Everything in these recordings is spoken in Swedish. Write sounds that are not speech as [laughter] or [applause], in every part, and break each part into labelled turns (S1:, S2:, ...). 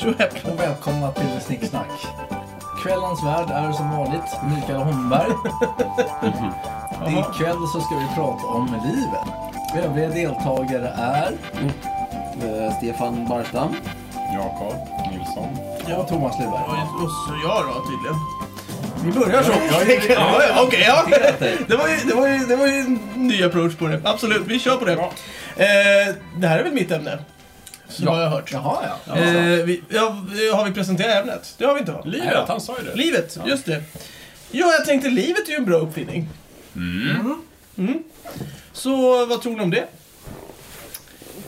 S1: Tjohepp och välkomna till Snicksnack. Kvällens värd är som vanligt Mikael Holmberg.
S2: Jaha.
S1: Ikväll så ska vi prata om livet. Övriga deltagare är
S3: Eh, Stefan Barstam.
S2: Jakob Nilsson.
S1: jag och Thomas
S4: Och
S1: Lyberg.
S4: och så jag då tydligen.
S1: Vi börjar så.
S4: Ja, ja, Okej, ja. Det var, ju, det, var ju, det var ju en ny approach på det. Absolut, vi kör på det. Eh, det här är väl mitt ämne? Så har jag hört.
S1: Jaha, ja.
S4: Eh, vi, ja, har vi presenterat ämnet? Det har vi inte va?
S2: Livet, han sa ju det.
S4: Livet, just det. Ja, jag tänkte livet är ju en bra uppfinning.
S2: Mm.
S4: Mm. Så vad tror ni om det?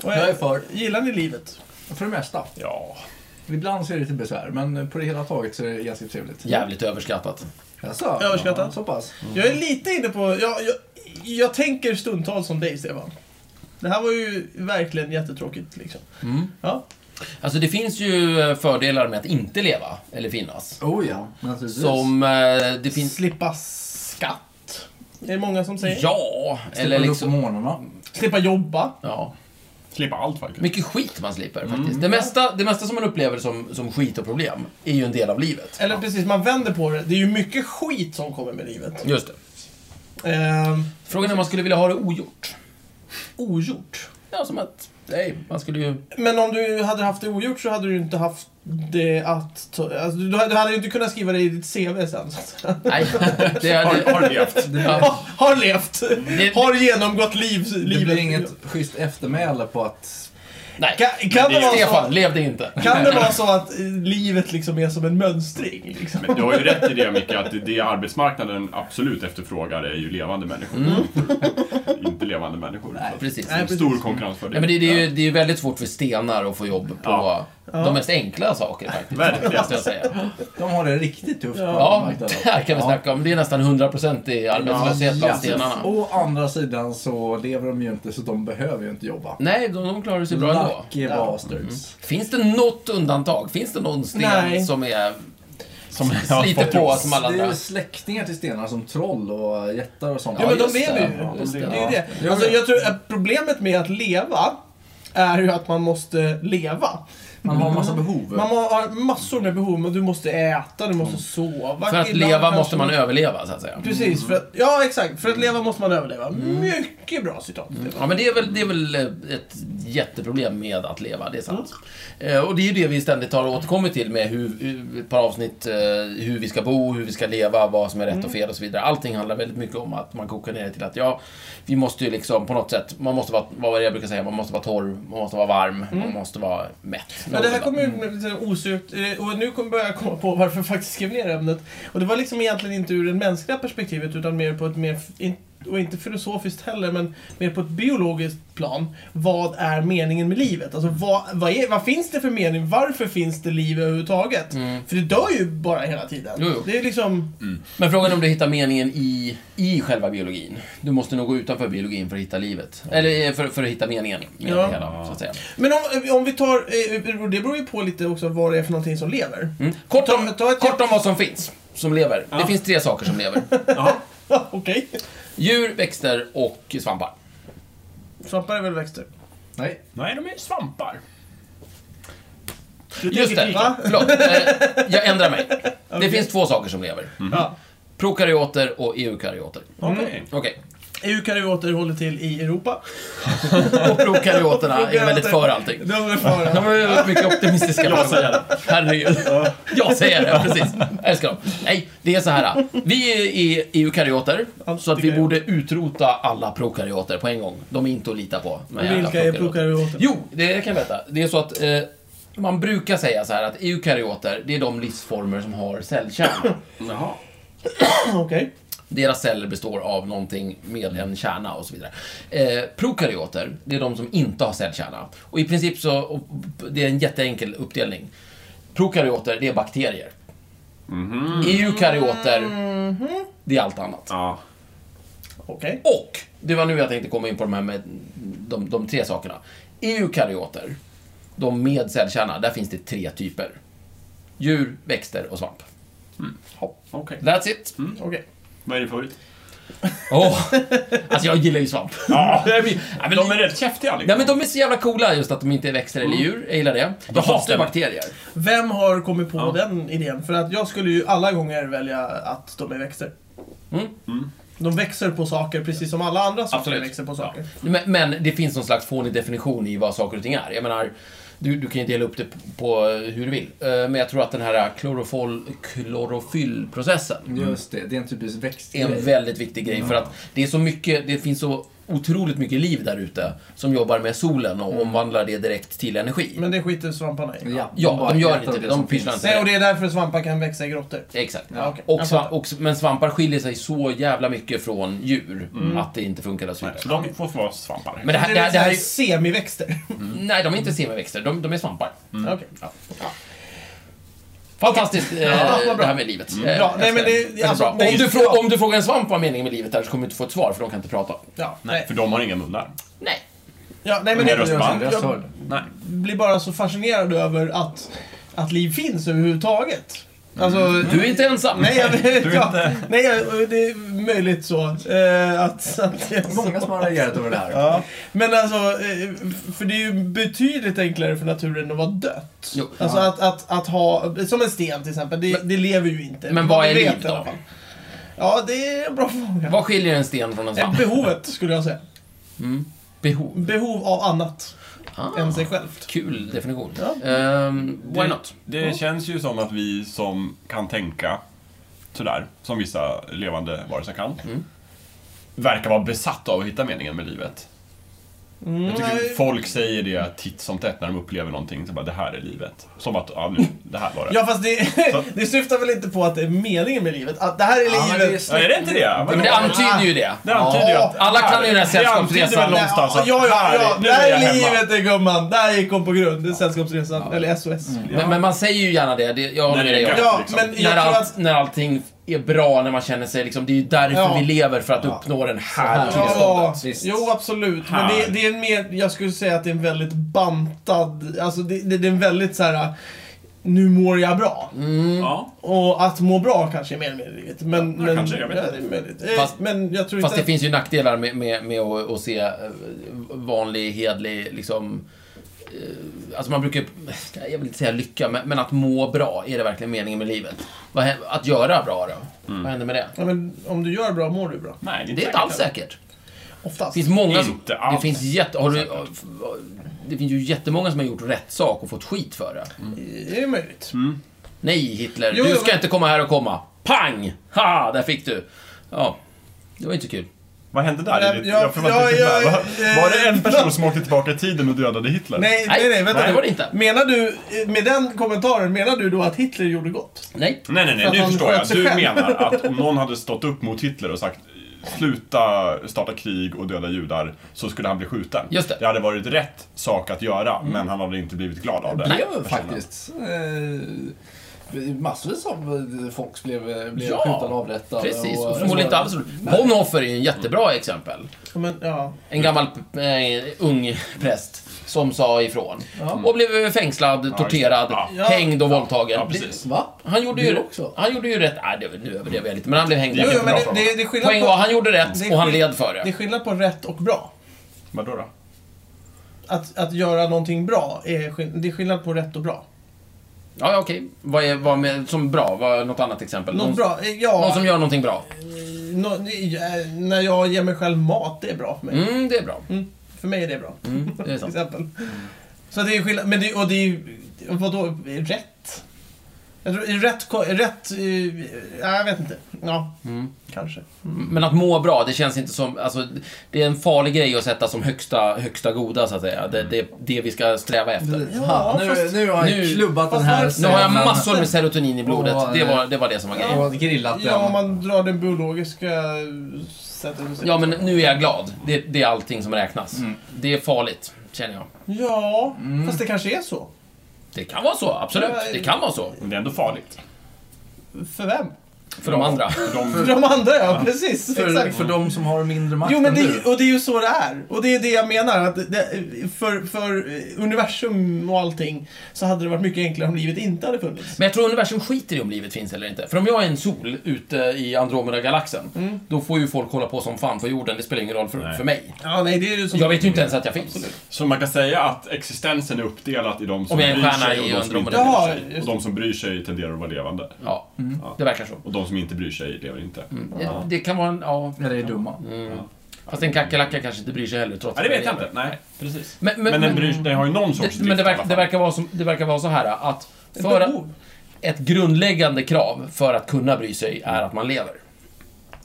S4: Och
S1: Jag är för.
S4: Gillar ni livet?
S1: För det mesta.
S2: Ja.
S1: Ibland så är det till besvär, men på det hela taget så är det ganska trevligt.
S2: Mm.
S3: Jävligt överskattat.
S1: Jaså?
S4: Överskattat.
S1: Så pass.
S4: Jag är lite inne på... Jag, jag, jag tänker stundtals som dig, Stefan. Det här var ju verkligen jättetråkigt liksom. Ja.
S5: Alltså det finns ju eh, fördelar med att inte leva, eller finnas.
S1: Oh ja, naturligtvis.
S5: Som eh, det finns...
S4: Slippa skatt. Det är många som säger.
S5: Ja, eller
S1: liksom...
S5: liksom...
S1: på morgnarna.
S4: Slippa jobba.
S5: Ja.
S2: Slippa allt Mm. faktiskt.
S5: Mycket skit man slipper faktiskt. Det, mesta, det mesta som man upplever som, som skit och problem är ju en del av livet.
S4: Eller precis, man vänder på det. Det är ju mycket skit som kommer med livet.
S5: Just det.
S4: Ehm,
S5: Frågan är om man skulle vilja ha det ogjort.
S4: ogjort.
S5: Ja, som att... Nej, man skulle ju...
S4: Men om du hade haft det ogjort så hade du inte haft det att... ta- Alltså, du, du hade ju inte kunnat skriva det i ditt CV sen. så att säga.
S5: Nej, [laughs] det är...
S2: Har, har levt.
S5: Ja,
S4: Ha- [laughs] Har levt. Har genomgått liv,
S1: Det
S4: livet.
S1: blir inget schysst eftermäle på att...
S5: nej.
S4: Kan, kan, det vara
S5: Stefan,
S4: så,
S5: levde inte.
S4: kan det vara så att eh, livet liksom är som en mönstring? Liksom?
S2: Men du har ju rätt i det Micke, att det- det arbetsmarknaden absolut efterfrågar är ju levande människor. [laughs] Inte levande människor. Så
S5: Mm. Precis.
S2: det är en Stor
S5: Nej,
S2: konkurrensfördel.
S5: men det, det, är ju, det är ju väldigt svårt för stenar att få jobb på
S2: Ja.
S5: de mest enkla saker faktiskt.
S2: Verkligen.
S5: Måste jag säga.
S1: De har det riktigt tufft på
S5: Ja,
S1: arbetsmarknaden.
S5: där kan vi
S1: Ja.
S5: snacka om. Det är nästan 100% i arbetslöshet bland stenarna.
S1: Å andra sidan så lever de ju inte så de behöver ju inte jobba.
S5: Nej, de, de klarar sig bra ändå. Mm.
S1: Lucky bastards.
S5: Finns det något undantag? Finns det någon sten
S4: Nej.
S5: som är... Som
S2: Ja,
S5: sliter på
S2: faktiskt.
S5: som alla
S1: Det är
S5: andra?
S1: ju släktingar till stenar som troll och jättar och sånt.
S4: Ja, men de
S5: just
S4: lever
S5: det.
S4: ju.
S5: Ja, just
S4: det.
S5: det.
S4: är ju det.
S1: Ja.
S4: Alltså, jag tror att problemet med att leva är ju att man måste leva.
S1: Man har en massa behov.
S5: Mm.
S4: Man må- har massor med behov, men du måste äta, du måste sova.
S5: För att
S4: Ibland
S5: leva
S4: kanske
S5: måste man överleva, så att säga.
S4: Precis, för att, ja exakt. För att leva måste man överleva. Mycket bra citat. Stefan.
S5: Ja, men det är, väl, det är väl eh, ett jätteproblem med att leva, det är sant. Eh, Och det är ju det vi ständigt har återkommit till med hur, hur- ett par avsnitt, eh, hur vi ska bo, hur vi ska leva, vad som är rätt och fel och så vidare. Allting handlar väldigt mycket om att man kokar ner det till att ja, vi måste ju liksom på något sätt, man måste vara, vad var det jag brukar säga, man måste vara torr, man måste vara varm, man måste vara mätt.
S4: Mm. Ja, det här kommer ju med lite osökt, eh, och nu kommer jag komma på varför jag faktiskt skrev ner ämnet. Och det var liksom egentligen inte ur det mänskliga perspektivet, utan mer på ett mer, f- in- och inte filosofiskt heller, men mer på ett biologiskt plan. Vad är meningen med livet? Alltså vad, vad, är, vad finns det för mening? Varför finns det liv överhuvudtaget? För det dör ju bara hela tiden.
S5: Mm. Jo, Mm. jo.
S4: Det är liksom...
S5: Men frågan är om du hittar meningen i, i själva biologin. Du måste nog gå utanför biologin för att hitta livet. Eller eh, för, för att hitta meningen med
S4: Ja.
S5: det hela, så att säga.
S4: Men om, om vi tar, eh, och det beror ju på lite också vad det är för någonting som lever.
S5: Mm. Kort, om,
S4: Ta- ta ett-
S5: kort om vad som finns, som lever. Det finns tre saker som lever.
S4: [laughs] Okej.
S5: Djur, växter och svampar.
S4: Svampar är väl växter?
S5: Mm-hmm.
S1: Nej.
S2: Nej, de är ju svampar.
S5: Just det,
S4: Va?
S5: förlåt. Eh, Jag ändrar mig. Det finns två saker som lever.
S4: Ja.
S5: Prokaryoter och eukaryoter.
S2: Okej.
S5: Okej.
S4: EU-karyoter håller till i Europa.
S5: Och prokaryoterna är väldigt för allting.
S4: De är för allt.
S5: De var ju väldigt mycket optimistiska. Jag säger det. Herregud. Jag säger det, precis. Älskar dem. Nej, det är så här. Vi är eukaryoter, så att vi borde utrota alla prokaryoter på en gång. De är inte att lita på. de jävla
S4: Vilka är prokaryoter?
S5: Jo, det kan jag berätta. Det är så att eh, man brukar säga så här att eukaryoter, det är de livsformer som har cellkärna.
S2: Jaha.
S4: Okej.
S5: Deras celler består av någonting med en kärna och så vidare. Eh, prokaryoter, det är de som inte har cellkärna. Och i princip så, och det är en jätteenkel uppdelning. Prokaryoter, det är bakterier. Eukaryoter, det är allt annat.
S2: Ja.
S4: Okej.
S5: Och, det var nu jag tänkte komma in på de här med de, de tre sakerna. Eukaryoter, de med cellkärna, där finns det tre typer. Djur, växter och svamp.
S2: Okej.
S5: That's it.
S4: Okej.
S2: Vad är din favorit?
S5: Åh! Alltså jag gillar ju svamp.
S2: [laughs] Ja,
S5: Nej, men- nej, men-
S2: de är rätt käftiga
S5: Nej
S2: liksom.
S5: men de är så jävla coola just att de inte är växter eller djur. Jag gillar det. Jag hatar ju
S2: stämmer.
S5: bakterier.
S4: Vem har kommit på den idén? För att jag skulle ju alla gånger välja att de är växter.
S5: Mm.
S4: De växer på saker precis som alla andra saker
S5: Absolut.
S4: växer på saker.
S5: Men, men det finns någon slags fånig definition i vad saker och ting är. Jag menar, du, du kan ju dela upp det på hur du vill. Eh, Men jag tror att den här klorofol, klorofyllprocessen
S1: Just det, det är en typisk växt.
S5: är
S3: Mm.
S5: en väldigt viktig grej. För att det är så mycket, det finns så otroligt mycket liv där ute som jobbar med solen och omvandlar det direkt till energi.
S4: Men det skiter svamparna i.
S1: Ja,
S5: Ja,
S1: bara
S5: de gör
S1: äter
S5: inte det.
S1: som
S5: De pysslar
S1: finns.
S5: inte.
S4: Nej, och det är därför svampar kan växa i grottor.
S5: Exakt.
S4: Ja, okej. Alltså,
S5: Och
S4: Jag
S5: sva-
S4: fattar.
S5: och, s- men svampar skiljer sig så jävla mycket från djur
S4: Mm.
S5: att det inte funkar att
S2: Nej,
S5: vidare.
S2: Så de får vara svampar.
S5: Men det här, det här, det här är,
S4: semiväxter.
S5: Nej, de är inte semiväxter. De, de är svampar.
S4: [laughs] Okej.
S5: Fantastiskt, eh,
S4: Mm. Ja, vad bra. Mm.
S5: det här med livet. Eh,
S4: Bra. Nej,
S5: jag
S4: men
S5: ska-
S4: det-
S5: jag ska
S4: alltså,
S5: bra.
S4: nej,
S5: om, du
S4: just-
S5: frå-
S4: ja.
S5: om du frågar en svamp vad meningen med livet är så kommer du inte få ett svar, för de kan inte prata.
S4: Ja, nej.
S2: För de har inga munnar.
S5: Nej.
S4: Ja, nej, men
S2: Men
S4: det,
S2: är det
S4: jag,
S2: spann?
S4: jag
S2: Nej.
S4: blir bara så fascinerad över att, att liv finns överhuvudtaget. Alltså,
S5: Du är inte ensam.
S4: Nej, jag,
S2: Du
S4: ja,
S2: inte.
S4: nej jag, det är möjligt så. Eh, att, att det är så.
S1: Många som har reagerat över det här.
S4: Ja. Men alltså, eh, för det är ju betydligt enklare för naturen att vara dött.
S5: Jo.
S4: Alltså att, att, att ha, som en sten till exempel, det,
S5: Men-
S4: det lever ju inte.
S5: Men vad
S4: Man
S5: är
S4: vet
S5: liv
S4: i alla
S5: då?
S4: fall. Ja, det är en bra fråga.
S5: Vad skiljer en sten från en svamp?
S4: Eh, Behovet, skulle jag säga.
S5: Behov.
S4: Behov av annat
S5: Ah,
S4: än sig självt.
S5: kul definition.
S4: Ja.
S5: Ehm, why not?
S2: Det känns ju som att vi som kan tänka sådär, som vissa levande varelser kan,
S5: Mm.
S2: verkar vara besatta av att hitta meningen med livet. Jag tycker
S4: nej.
S2: folk säger det titt som tätt när de upplever någonting, så bara det här är livet. Som att, ja nu, det här var det.
S4: Ja, fast det, [laughs] det syftar väl inte på att det är meningen med livet? Att det här är
S1: Ja, men det är
S4: livet.
S1: släkt-
S2: Ja, är det inte det?
S5: Men
S2: Vadå?
S5: det antyder ju det.
S2: Det antyder ju att...
S5: Alla kan ju den här
S2: Det antyder väl
S5: sällskapsresan.
S2: någonstans
S4: ja,
S2: att
S4: ja, ja, ja.
S2: här, nu
S4: Där
S2: är jag
S4: är
S2: hemma.
S4: livet, det, gumman. Där gick hon på grund. Det är Sällskapsresan. Eller SOS.
S5: Men, men man säger ju gärna det. det jag håller
S2: Nej,
S5: med dig
S2: det är
S5: om.
S2: gött.
S4: Ja,
S2: liksom.
S4: men jag
S5: Mm. när,
S4: tror
S5: allt,
S4: att
S5: när allting är bra, när man känner sig liksom... Det är ju därför
S4: Ja.
S5: vi lever, för att uppnå den här
S1: här.
S5: tillståndet.
S1: Visst.
S4: jo absolut. Men det, det är en mer, jag skulle säga att det är en väldigt bantad, alltså det, det, det är en väldigt så här. Nu mår jag bra.
S5: Mm.
S2: Ja.
S4: Och att må bra kanske är mer med livet. Men, men,
S2: kanske, jag vet
S4: ja,
S2: inte.
S4: det är möjligt. Eh,
S5: Fast-
S4: men jag tror
S5: Fast
S4: inte
S5: det finns ju nackdelar med, med, med att, att se eh, vanlig, hedlig, liksom... eh, Alltså man brukar, jag vill inte säga lycka, men, men att må bra, är det verkligen meningen med livet? Vad, hä- att göra bra då? Vad händer med det?
S4: ja, men, om du gör bra mår du bra.
S2: Nej, det är
S5: Det är inte alls säkert. Det
S4: Oftast.
S5: finns många som,
S2: Inte
S5: det
S2: alls.
S5: finns jätte, har du, Det finns ju jättemånga som har gjort rätt sak och fått skit för det.
S4: Det är möjligt.
S5: Mm. Nej Hitler,
S4: Jo,
S5: du
S4: jo,
S5: ska
S4: men-
S5: inte komma här och komma. Pang! Ha, där fick du. Ja, det var inte så kul.
S2: Vad hände där?
S4: Ja,
S2: Jag,
S4: ja,
S2: jag, förvånas
S4: ja,
S2: inte
S4: ja,
S2: med.
S4: eh,
S2: var, var det en person som åkte tillbaka i tiden och dödade Hitler?
S4: Nej, nej, nej, vänta
S5: det
S4: nu.
S5: var det inte.
S4: Menar du, eh, med den kommentaren, menar du då att Hitler gjorde gott?
S5: Nej.
S2: Nej, nej,
S4: För
S2: nej,
S4: att
S2: nu
S4: han
S2: förstår jag.
S4: sköt sig
S2: Du
S4: själv.
S2: menar att om någon hade stått upp mot Hitler och sagt sluta starta krig och döda judar så skulle han bli skjuten.
S5: Just det. Mm.
S2: det hade varit rätt sak att göra, men han hade inte blivit glad av det.
S5: Nej.
S2: Jag
S1: blev
S2: känner.
S1: faktiskt. Eh, massvis av eh, folk blev, eh, blev
S5: Ja,
S1: skjutna och avrättade.
S5: Precis,
S1: och,
S5: och förmodligen inte alls roligt. Bonhoeffer är ju en jättebra exempel.
S4: Ja, Men, ja.
S5: En gammal eh, ung präst som sa ifrån. Och blev fängslad, torterad,
S2: Ja.
S5: hängd och våldtagen.
S2: Ja, precis.
S1: Va?
S5: Han gjorde ju,
S1: Det också.
S5: han gjorde ju rätt. Nej, det- nu överdrev jag lite, men han blev hängd.
S4: Jo, jo,
S5: Jättebra.
S4: men det,
S2: fråga.
S4: det, det är skillnad
S5: Poäng
S4: på...
S5: var, han gjorde rätt
S4: Det är
S5: och han
S4: skill-
S5: led för
S4: Det är
S5: det.
S4: skillnad på rätt och bra.
S2: Vadå då?
S4: Att, att göra någonting bra, är, skill- det är skillnad på rätt och bra.
S5: Ja, ja, okej. Vad är, vad med, som bra? Vad, något annat exempel?
S4: Något
S5: någon,
S4: bra, eh, ja.
S5: någon som gör någonting bra?
S4: nå- nej, eh, när jag ger mig själv mat, det är bra för mig.
S5: Mm, det är bra.
S4: Mm, för mig är det bra.
S5: Mm,
S4: [laughs]
S5: det är
S4: Till
S5: sant.
S4: exempel. Så det är skillnad, men det, och det är ju, vadå, rätt? Jag tror, rätt, ko- rätt, eh, ja, jag vet inte. Ja,
S5: Mm.
S4: kanske.
S5: Men att må bra, det känns inte som... Alltså, det är en farlig grej att sätta som högsta, högsta goda, så att säga. Det, det, det vi ska sträva efter.
S1: Precis.
S4: Ja,
S1: Ha,
S4: fast-
S1: nu, nu har jag
S5: nu-
S1: klubbat
S4: fast
S1: den här
S4: varför-
S5: Nu har jag
S1: scenen
S5: massor med serotonin i blodet.
S1: Åh,
S5: det,
S1: nej.
S5: var, det var det som var grejen.
S1: och grillat den.
S4: Ja, om man drar den biologiska sättet att se
S5: Ja,
S4: det.
S5: men nu är jag glad. Det, det är allting som räknas. Det är farligt, känner jag.
S4: Ja,
S5: Mm.
S4: fast det kanske är så.
S5: Det kan vara så, absolut.
S4: Ja,
S5: Det kan vara så.
S2: Men det är ändå farligt.
S4: För vem?
S5: För de andra.
S4: För
S2: De,
S4: de andra, ja. Precis.
S1: För,
S4: exakt.
S1: för de som har mindre makt
S4: Jo, men
S1: än
S4: det,
S1: du.
S4: och det är ju så det är. Och det är det jag menar. Att det, för, för universum och allting så hade det varit mycket enklare om livet inte hade funnits.
S5: Men jag tror universum skiter i om livet finns eller inte. För om jag är en sol ute i Andromeda-galaxen, då får ju folk hålla på som fan på jorden. Det spelar ingen roll för,
S2: Nej.
S5: för mig.
S4: Ja, nej, det är ju som...
S5: Jag vet ju inte ens att jag finns.
S2: så man kan säga att existensen är uppdelad i de som
S5: Om jag är en
S2: bryr
S5: stjärna
S2: sig
S5: i
S2: och de som inte
S5: Andromeda.
S4: Jaha,
S2: bryr sig. Och
S4: just
S2: de som bryr sig tenderar att vara levande.
S5: Ja, Mm. det verkar så.
S2: Och de som inte bryr sig lever inte.
S5: Ja, Det kan vara en... Ja.
S1: Eller är dumma.
S5: Fast en kackerlacka kanske inte bryr sig heller trots
S2: Nej,
S5: att
S2: det vet
S5: den
S2: jag
S5: lever.
S2: inte. Nej, precis.
S5: Men, men,
S2: Men den,
S5: men,
S2: bryr, den har ju någon sorts
S5: det, men det,
S2: drift i alla
S5: verkar,
S2: fall.
S5: det, verkar vara som, det verkar vara så här att... För att
S4: behov.
S5: ett grundläggande krav för att kunna bry sig är att man lever.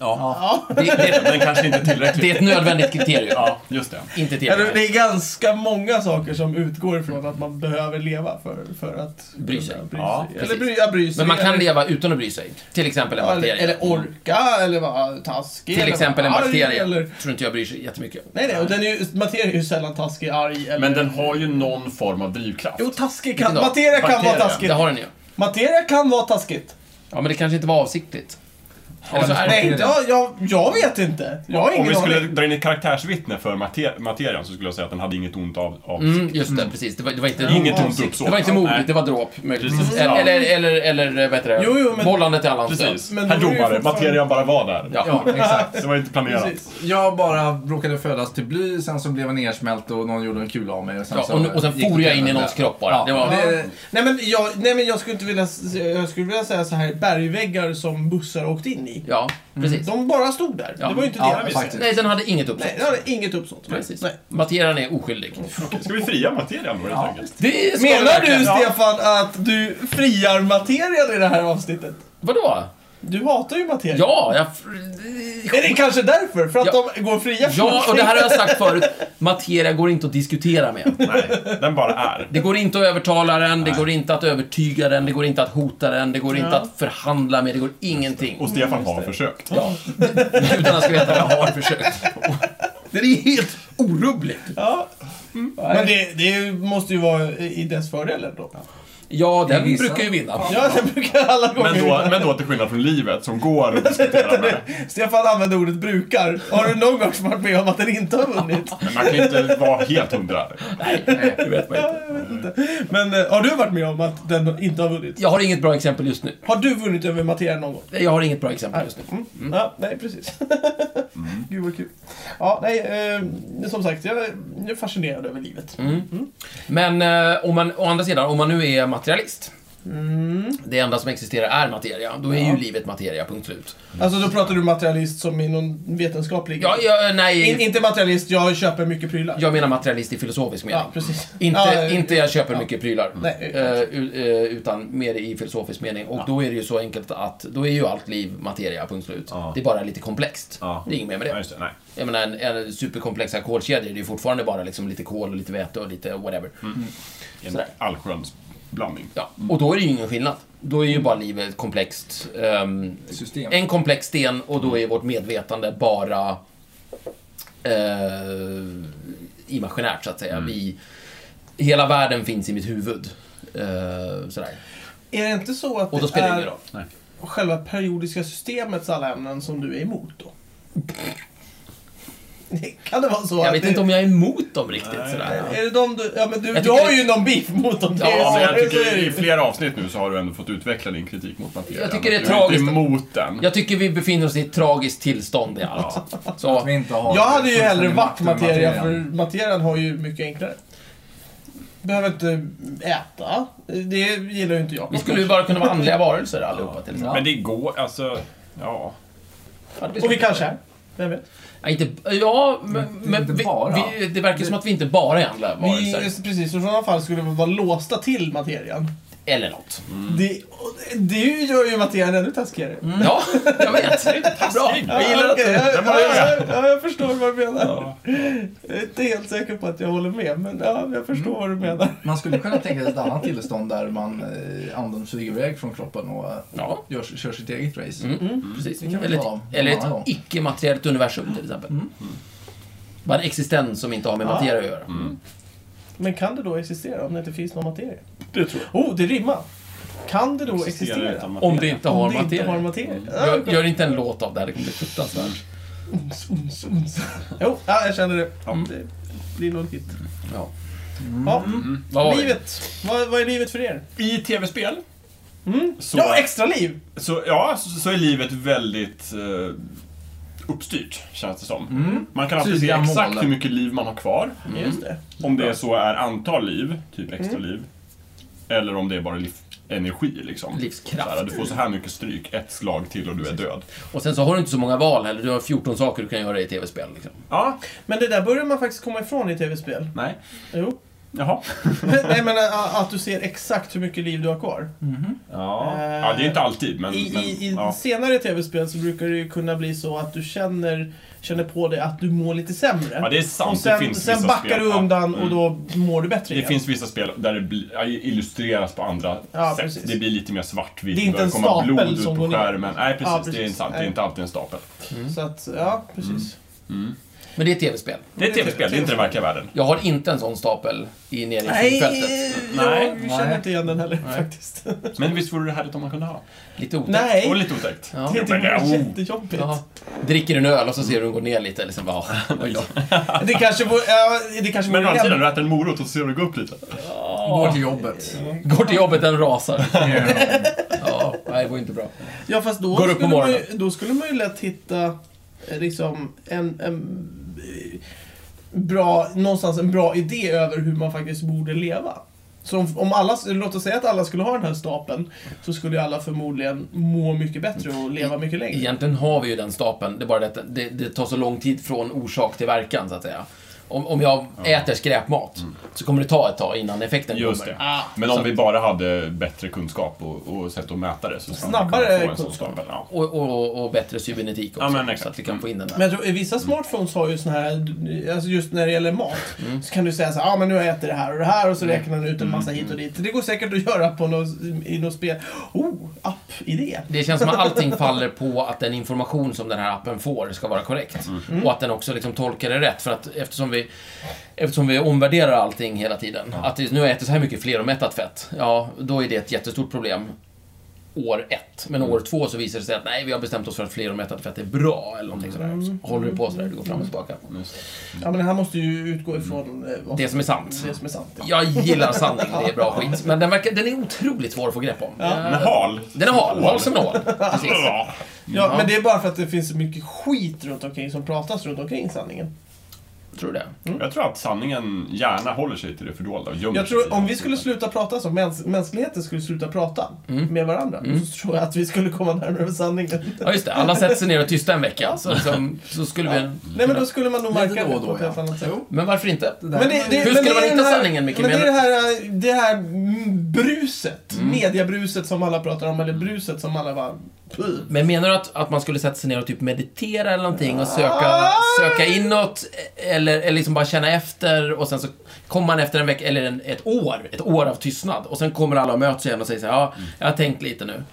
S4: Ja.
S5: Det, det,
S2: Men kanske inte
S5: [laughs]
S2: tillräckligt.
S5: det är ett nödvändigt kriterium.
S2: Ja, just det.
S5: Inte
S4: Ja, det-
S5: tillräckligt.
S4: det är ganska många saker som utgår ifrån att man behöver leva för, för att
S5: Bry sig.
S4: kunna
S2: Ja,
S4: eller
S5: precis.
S4: bry, ja, bry sig.
S5: Men man kan
S4: eller,
S5: leva utan att bry sig. Till exempel en
S4: ja, eller,
S5: bakterie.
S4: eller orka, eller vara taskig.
S5: Till
S4: eller
S5: exempel en
S4: vara arg,
S5: bakterie.
S4: Eller,
S5: Tror inte jag bryr sig jättemycket.
S4: nej, nej, och den är ju, materia är ju sällan taskig, arg eller...
S2: Men den har ju någon form av drivkraft.
S4: Jo, taskig kan...
S5: Vilken då?
S4: Materia kan
S2: Bakterie.
S4: vara
S5: Det
S4: taskigt.
S5: har den ju.
S4: Materia kan vara taskigt.
S5: Ja, men det kanske inte var avsiktligt. Eller så är det...
S4: Nej, inte- jag, jag, jag vet inte. Jag har
S2: Om vi
S4: ingen
S2: skulle
S4: aning.
S2: dra in ett karaktärsvittne för mater- materian så skulle jag säga att den hade inget ont av, av
S5: Mm, just det, precis. Det var, det var inte...
S2: Inget ont
S5: avsikt.
S2: uppsåt.
S5: Det var inte
S2: Nej.
S5: modigt, det var dråp. Möjligtvis.
S2: Precis.
S5: Eller, eller, eller, eller, vad heter det?
S4: Jo, jo, men-
S5: Vållande till allans
S2: Precis.
S5: död.
S4: Men
S2: Herr
S4: då är det ju
S2: domare,
S4: fortfarande-
S2: materian bara var där.
S5: Ja.
S1: Ja, exakt.
S2: Det var inte planerat.
S4: Precis.
S1: Jag bara råkade födas till bly, sen så blev jag nersmält och någon gjorde en kula av mig. Och sen,
S5: Ja,
S1: så
S5: och, och sen
S1: gick
S5: for jag
S1: det
S5: in i
S1: till
S5: någons
S1: det.
S5: kropp bara.
S1: Ja,
S5: Det var...
S1: det-
S4: Nej men, jag, nej men jag skulle inte vilja, s- jag skulle vilja säga så här bergväggar som bussar åkte in i.
S5: Ja, precis.
S4: De bara stod där.
S5: Ja.
S4: Det var ju inte
S1: Ja,
S4: det jag
S1: faktiskt.
S4: visste.
S5: Nej, den hade inget uppsåt.
S4: Nej, det hade inget uppsåt.
S5: Precis.
S4: Nej.
S5: Materian är oskyldig.
S2: Okej, Ska vi fria materian då helt enkelt?
S5: Det ska vi
S4: Menar
S5: verkligen-
S4: du
S5: Ja.
S4: Stefan att du friar materian i det här avsnittet?
S5: Vadå?
S4: Du hatar ju materia.
S5: Ja, jag...
S4: Är det kanske därför? För att
S5: Ja.
S4: de går fria från
S5: Ja, och det här har jag sagt förut. Materia går inte att diskutera med.
S2: Nej, den bara är.
S5: Det går inte att övertala den, det går inte att övertyga den, det går inte att hota den, det går inte att förhandla med, det går ingenting.
S2: Och Stefan har försökt.
S5: Ja, gudarna ska veta att jag har försökt. Det är helt orubbligt.
S4: Ja.
S5: Mm.
S4: Men det, det måste ju vara i dess fördel ändå.
S5: Ja, den
S1: vissa-
S5: brukar ju vinna.
S4: Ja, det brukar alla gånger.
S2: Men då, men då till skillnad från livet som går att diskutera med.
S5: [laughs]
S4: Stefan använder ordet brukar. Har du någon gång varit med om att den inte har vunnit?
S2: Men man kan ju inte vara helt hundra.
S5: Nej, nej, det vet man inte.
S4: Men eh, har du varit med om att den inte har vunnit?
S5: Jag har inget bra exempel just nu.
S4: Har du vunnit över materia någon gång?
S5: Jag har inget bra exempel just nu.
S4: Mm. Ja, nej, precis.
S5: Mm.
S4: [laughs] Gud vad kul. Ja, nej, eh, som sagt, jag är fascinerad över livet.
S5: Mm. Men eh, om man, å andra sidan, om man nu är materialist. Det enda som existerar är materia. Då är ju livet materia, punkt slut.
S4: Alltså, då pratar du materialist som i någon vetenskaplig...
S5: Ja, ja,
S4: In,
S5: nej,
S4: inte materialist, jag köper mycket prylar.
S5: jag menar materialist i filosofisk mening.
S4: Ja, precis.
S5: Inte,
S4: ja,
S5: inte jag köper mycket prylar.
S4: Nej.
S5: Eh, u- eh, utan mer i filosofisk mening. Och då är det ju så enkelt att då är ju allt liv materia, punkt slut.
S2: Ja.
S5: Det är bara lite komplext.
S2: Ja.
S5: Det är inget mer med
S2: Nej,
S5: det.
S2: just det. Nej.
S5: Jag menar, en, en superkomplex ackordskedja, det är ju fortfarande bara liksom lite kol och lite väte och lite whatever.
S2: En
S5: Sådär.
S2: allsköns blandning.
S5: Ja. Och då är det ju ingen skillnad. Då är ju bara livet komplext. ehm,
S1: System.
S5: en komplex sten och då är vårt medvetande bara eh, imaginärt, så att säga. Vi, hela världen finns i mitt huvud. Eh, sådär.
S4: Är det inte så att
S5: Och då
S4: det
S5: spelar det
S4: är
S5: ingen roll.
S4: själva periodiska systemets alla ämnen som du är emot då? [laughs] Kan det vara så
S5: Jag
S4: att
S5: vet
S4: det...
S5: inte om jag är emot dem riktigt. sådär.
S4: Är det de du... Ja, men du,
S5: Jag
S4: du
S5: tycker
S4: har
S5: det-
S4: ju någon beef mot dem. det är ju
S2: Ja,
S4: [laughs] så-
S2: men jag
S4: så är
S2: tycker
S4: det
S2: i
S4: ju.
S2: flera avsnitt nu så har du ändå fått utveckla din kritik mot materian.
S5: Jag tycker det är
S2: Du inte
S5: tragiskt.
S2: emot den.
S5: Jag tycker vi befinner oss i ett tragiskt tillstånd i allt.
S1: Att vi
S5: Så,
S1: inte har
S4: Jag hade ju hellre
S1: fullständig
S4: varit
S1: makt över
S4: materia, för
S1: materian.
S4: materian har ju mycket enklare. Behöver inte äta. Det gillar ju inte jag.
S5: vi skulle ju bara kunna vara andliga varelser allihopa till exempel.
S2: Men det går, alltså... Ja.
S5: Ja, det blir
S4: Och vi
S5: så.
S4: kanske är. Vem vet?
S5: Ja, inte, ja, men,
S1: Inte
S5: men vi,
S1: bara.
S5: vi, det verkar som att vi inte bara är andliga
S4: Vi,
S5: varelser.
S4: precis, i sådana fall skulle vi vara låsta till materian.
S5: Eller något.
S4: Det, och det- det gör ju materian ännu taskigare.
S5: Ja, jag vet. Bra. Jag gillar att
S4: Okej,
S2: det var
S4: jag,
S2: det.
S4: jag, jag, jag förstår vad du menar. Jag är inte helt säker på att jag håller med, men ja, jag förstår
S2: Mm.
S4: vad du menar.
S1: Man skulle kunna tänka sig ett annat tillstånd där man eh, anden flyger iväg från kroppen och eh,
S5: Ja, Mm.
S1: gör, kör sitt eget race.
S5: precis.
S1: kan vi
S5: Eller
S1: tala om
S5: ett,
S1: någon
S5: eller
S1: annan
S5: ett
S1: gång.
S5: icke-materiellt universum till exempel. Bara en existens som inte har med
S4: Ja.
S5: materia att göra.
S4: Men kan det då existera om det inte finns någon materia? Det tror jag. Oh, det rimmar. Kan det då
S2: Existerar
S4: existera?
S2: utan materia.
S5: Om det inte har
S4: Om det inte har
S5: materia.
S4: materia.
S5: Gör, gör inte en låt av det här, det kommer bli fruktansvärt.
S4: Uns, uns, uns. Jo, ja, jag känner det.
S2: Ja.
S4: Det blir nog hit.
S5: Mm. Ja. Mm.
S4: Ja,
S5: Vad var det?
S4: livet. Vad, vad är livet för er?
S2: I tv-spel så,
S4: Ja, extra liv!
S2: så, ja, så, så är livet väldigt eh, uppstyrt, känns det som. Man kan alltid se
S1: Tydliga
S2: exakt
S1: mål.
S2: hur mycket liv man har kvar.
S5: Mm.
S4: Just det.
S2: Om det så är antal liv, typ extra liv. Eller om det är bara liv, energi, liksom.
S5: Livskraft.
S2: Så här, du får så här mycket stryk, ett slag till och du är död.
S5: Och sen så har du inte så många val heller. Du har 14 saker du kan göra i tv-spel. Liksom.
S2: Ja,
S4: Men det där börjar man faktiskt komma ifrån i tv-spel.
S2: nej.
S4: Jo. [laughs]
S2: Jaha.
S4: Nej, men ä, att du ser exakt hur mycket liv du har kvar.
S2: Ja.
S4: Eh,
S2: ja, det är inte alltid, men...
S4: I,
S2: men
S4: i, i
S2: ja.
S4: senare tv-spel så brukar det ju kunna bli så att du känner, känner på dig att du mår lite sämre.
S2: Ja, det är sant.
S4: och sen,
S2: det finns
S4: sen
S2: vissa
S4: backar
S2: spel.
S4: du undan
S2: ja.
S4: och
S2: mm.
S4: då mår du bättre
S2: Det
S4: igen.
S2: finns vissa spel där det bli- ja, illustreras på andra
S4: Ja,
S2: sätt.
S4: precis.
S2: Det blir lite mer svartvitt.
S4: Det är inte
S2: börjar
S4: en
S2: komma
S4: stapel
S2: blod ut
S4: som
S2: på
S4: går ner.
S2: skärmen. Nej, precis.
S4: Ja,
S2: Det är
S4: precis.
S2: inte sant. Det är
S4: Nej. Mm.
S2: inte alltid en stapel.
S4: Så att, ja,
S2: Mm.
S4: precis.
S5: Men det är tv-spel.
S2: Det är ett tv-spel, det är inte den verkliga världen.
S5: Jag har inte en sån stapel i nere i
S4: Nej,
S5: flygfältet.
S2: Nej,
S4: jag känner inte igen den heller faktiskt.
S2: Men visst vore det härligt om man kunde ha?
S5: Lite otäckt.
S4: Nej,
S2: Och lite otäckt.
S5: Ja.
S4: det
S2: Jo, men det-
S4: är typ
S2: oh.
S4: jättejobbigt.
S5: Jaha. Dricker en öl och så ser du hur den går ner lite. Liksom bara, oj då.
S4: Det kanske vore... Ja, det kanske
S2: Men å
S4: vore
S2: andra
S4: lämpligt.
S2: sidan, du äter en morot och så ser du gå upp lite.
S1: Går till jobbet.
S5: Går till jobbet, den rasar. Ja, nej, det var inte bra.
S4: Ja, fast
S5: Går
S4: då
S5: upp på
S4: skulle, man ju,
S5: morgonen.
S4: då skulle man ju lätt hitta eh, liksom en... en eh, bra, någonstans en bra idé över hur man faktiskt borde leva. Så om, om alla, låt oss säga att alla skulle ha den här stapeln, så skulle ju alla förmodligen må mycket bättre och leva mycket längre.
S5: Egentligen har vi ju den stapeln. Det är bara det att det, det tar så lång tid från orsak till verkan, så att säga. Om, om jag äter skräpmat så kommer det ta ett tag innan effekten
S2: Mm. Just
S5: kommer.
S2: det.
S4: Ah,
S2: Men om vi bara hade bättre kunskap och, och sätt att mäta det så skulle man
S4: Snabbare
S2: kunna få en sån
S4: kunskap.
S2: stapel. Ja.
S5: Och, och, och bättre cybernetik också.
S2: Ja, men exakt.
S5: så att vi kan få in den där.
S4: Men jag tror, eh, vissa smartphones har ju sån här, alltså just när det gäller mat,
S5: Mm.
S4: så kan du säga så här, ah, men nu har jag ätit det här och det här och så räknar den ut en massa
S5: Mm.
S4: hit och dit. Det går säkert att göra på något, i något spel. Oh, app-idé!
S5: Det känns som att allting faller på att den information som den här appen får ska vara korrekt.
S2: Mm.
S5: Och att den också liksom tolkar det rätt. För att eftersom vi, eftersom vi omvärderar allting hela tiden. Att det- nu har jag ätit så här mycket fleromättat fett. Ja, då är det ett jättestort problem. År ett. Men
S2: Mm.
S5: år två så visar det sig att nej, vi har bestämt oss för att fleromättat fett är bra. Eller någonting
S2: Mm.
S5: sådär. Så håller det på sådär, det går fram och tillbaka.
S4: Mm. Ja, men det här måste ju utgå ifrån eh, vad
S5: Det som är sant.
S4: det som är sant. Ja.
S5: Jag gillar sanning, det är bra skit. Men den, verkar, den är otroligt svår att få grepp om.
S2: Men hal.
S5: Den är hal, hal som en hal. Precis.
S2: [laughs] Ja.
S4: Ja, men det är bara för att det finns så mycket skit runt omkring som pratas runt omkring sanningen.
S5: Tror du det?
S2: Jag tror att sanningen gärna håller sig till det fördolda och gömmer
S4: Jag
S2: sig
S4: tror
S2: i
S4: om
S2: det.
S4: vi skulle sluta prata som mäns mänskligheten skulle sluta prata med varandra, så tror jag att vi skulle komma närmare sanningen.
S5: Ja, just det. Alla sätter sig ner och är tysta en vecka. Så, liksom, så skulle vi...
S4: Nej, men då skulle man nog märka
S3: Lite då
S4: det
S3: och
S4: på
S3: då,
S4: ett helt
S3: ja.
S4: annat sätt.
S3: Jo.
S5: Men varför inte?
S4: Men det, det,
S5: Hur
S4: men
S5: skulle
S4: det är
S5: man hitta
S4: den här-
S5: sanningen, Micke?
S4: Men det är
S5: Menar-
S4: det här, eh, det här mm, bruset, mediabruset som alla pratar om, eller bruset som alla bara... Puh.
S5: Men menar du att, att man skulle sätta sig ner och typ meditera eller någonting och söka, söka inåt? Eller, eller liksom bara känna efter och sen så kommer man efter en vecka, eller en, ett år, ett år av tystnad. Och sen kommer alla och möts igen och säger så här, ja, jag har tänkt lite nu.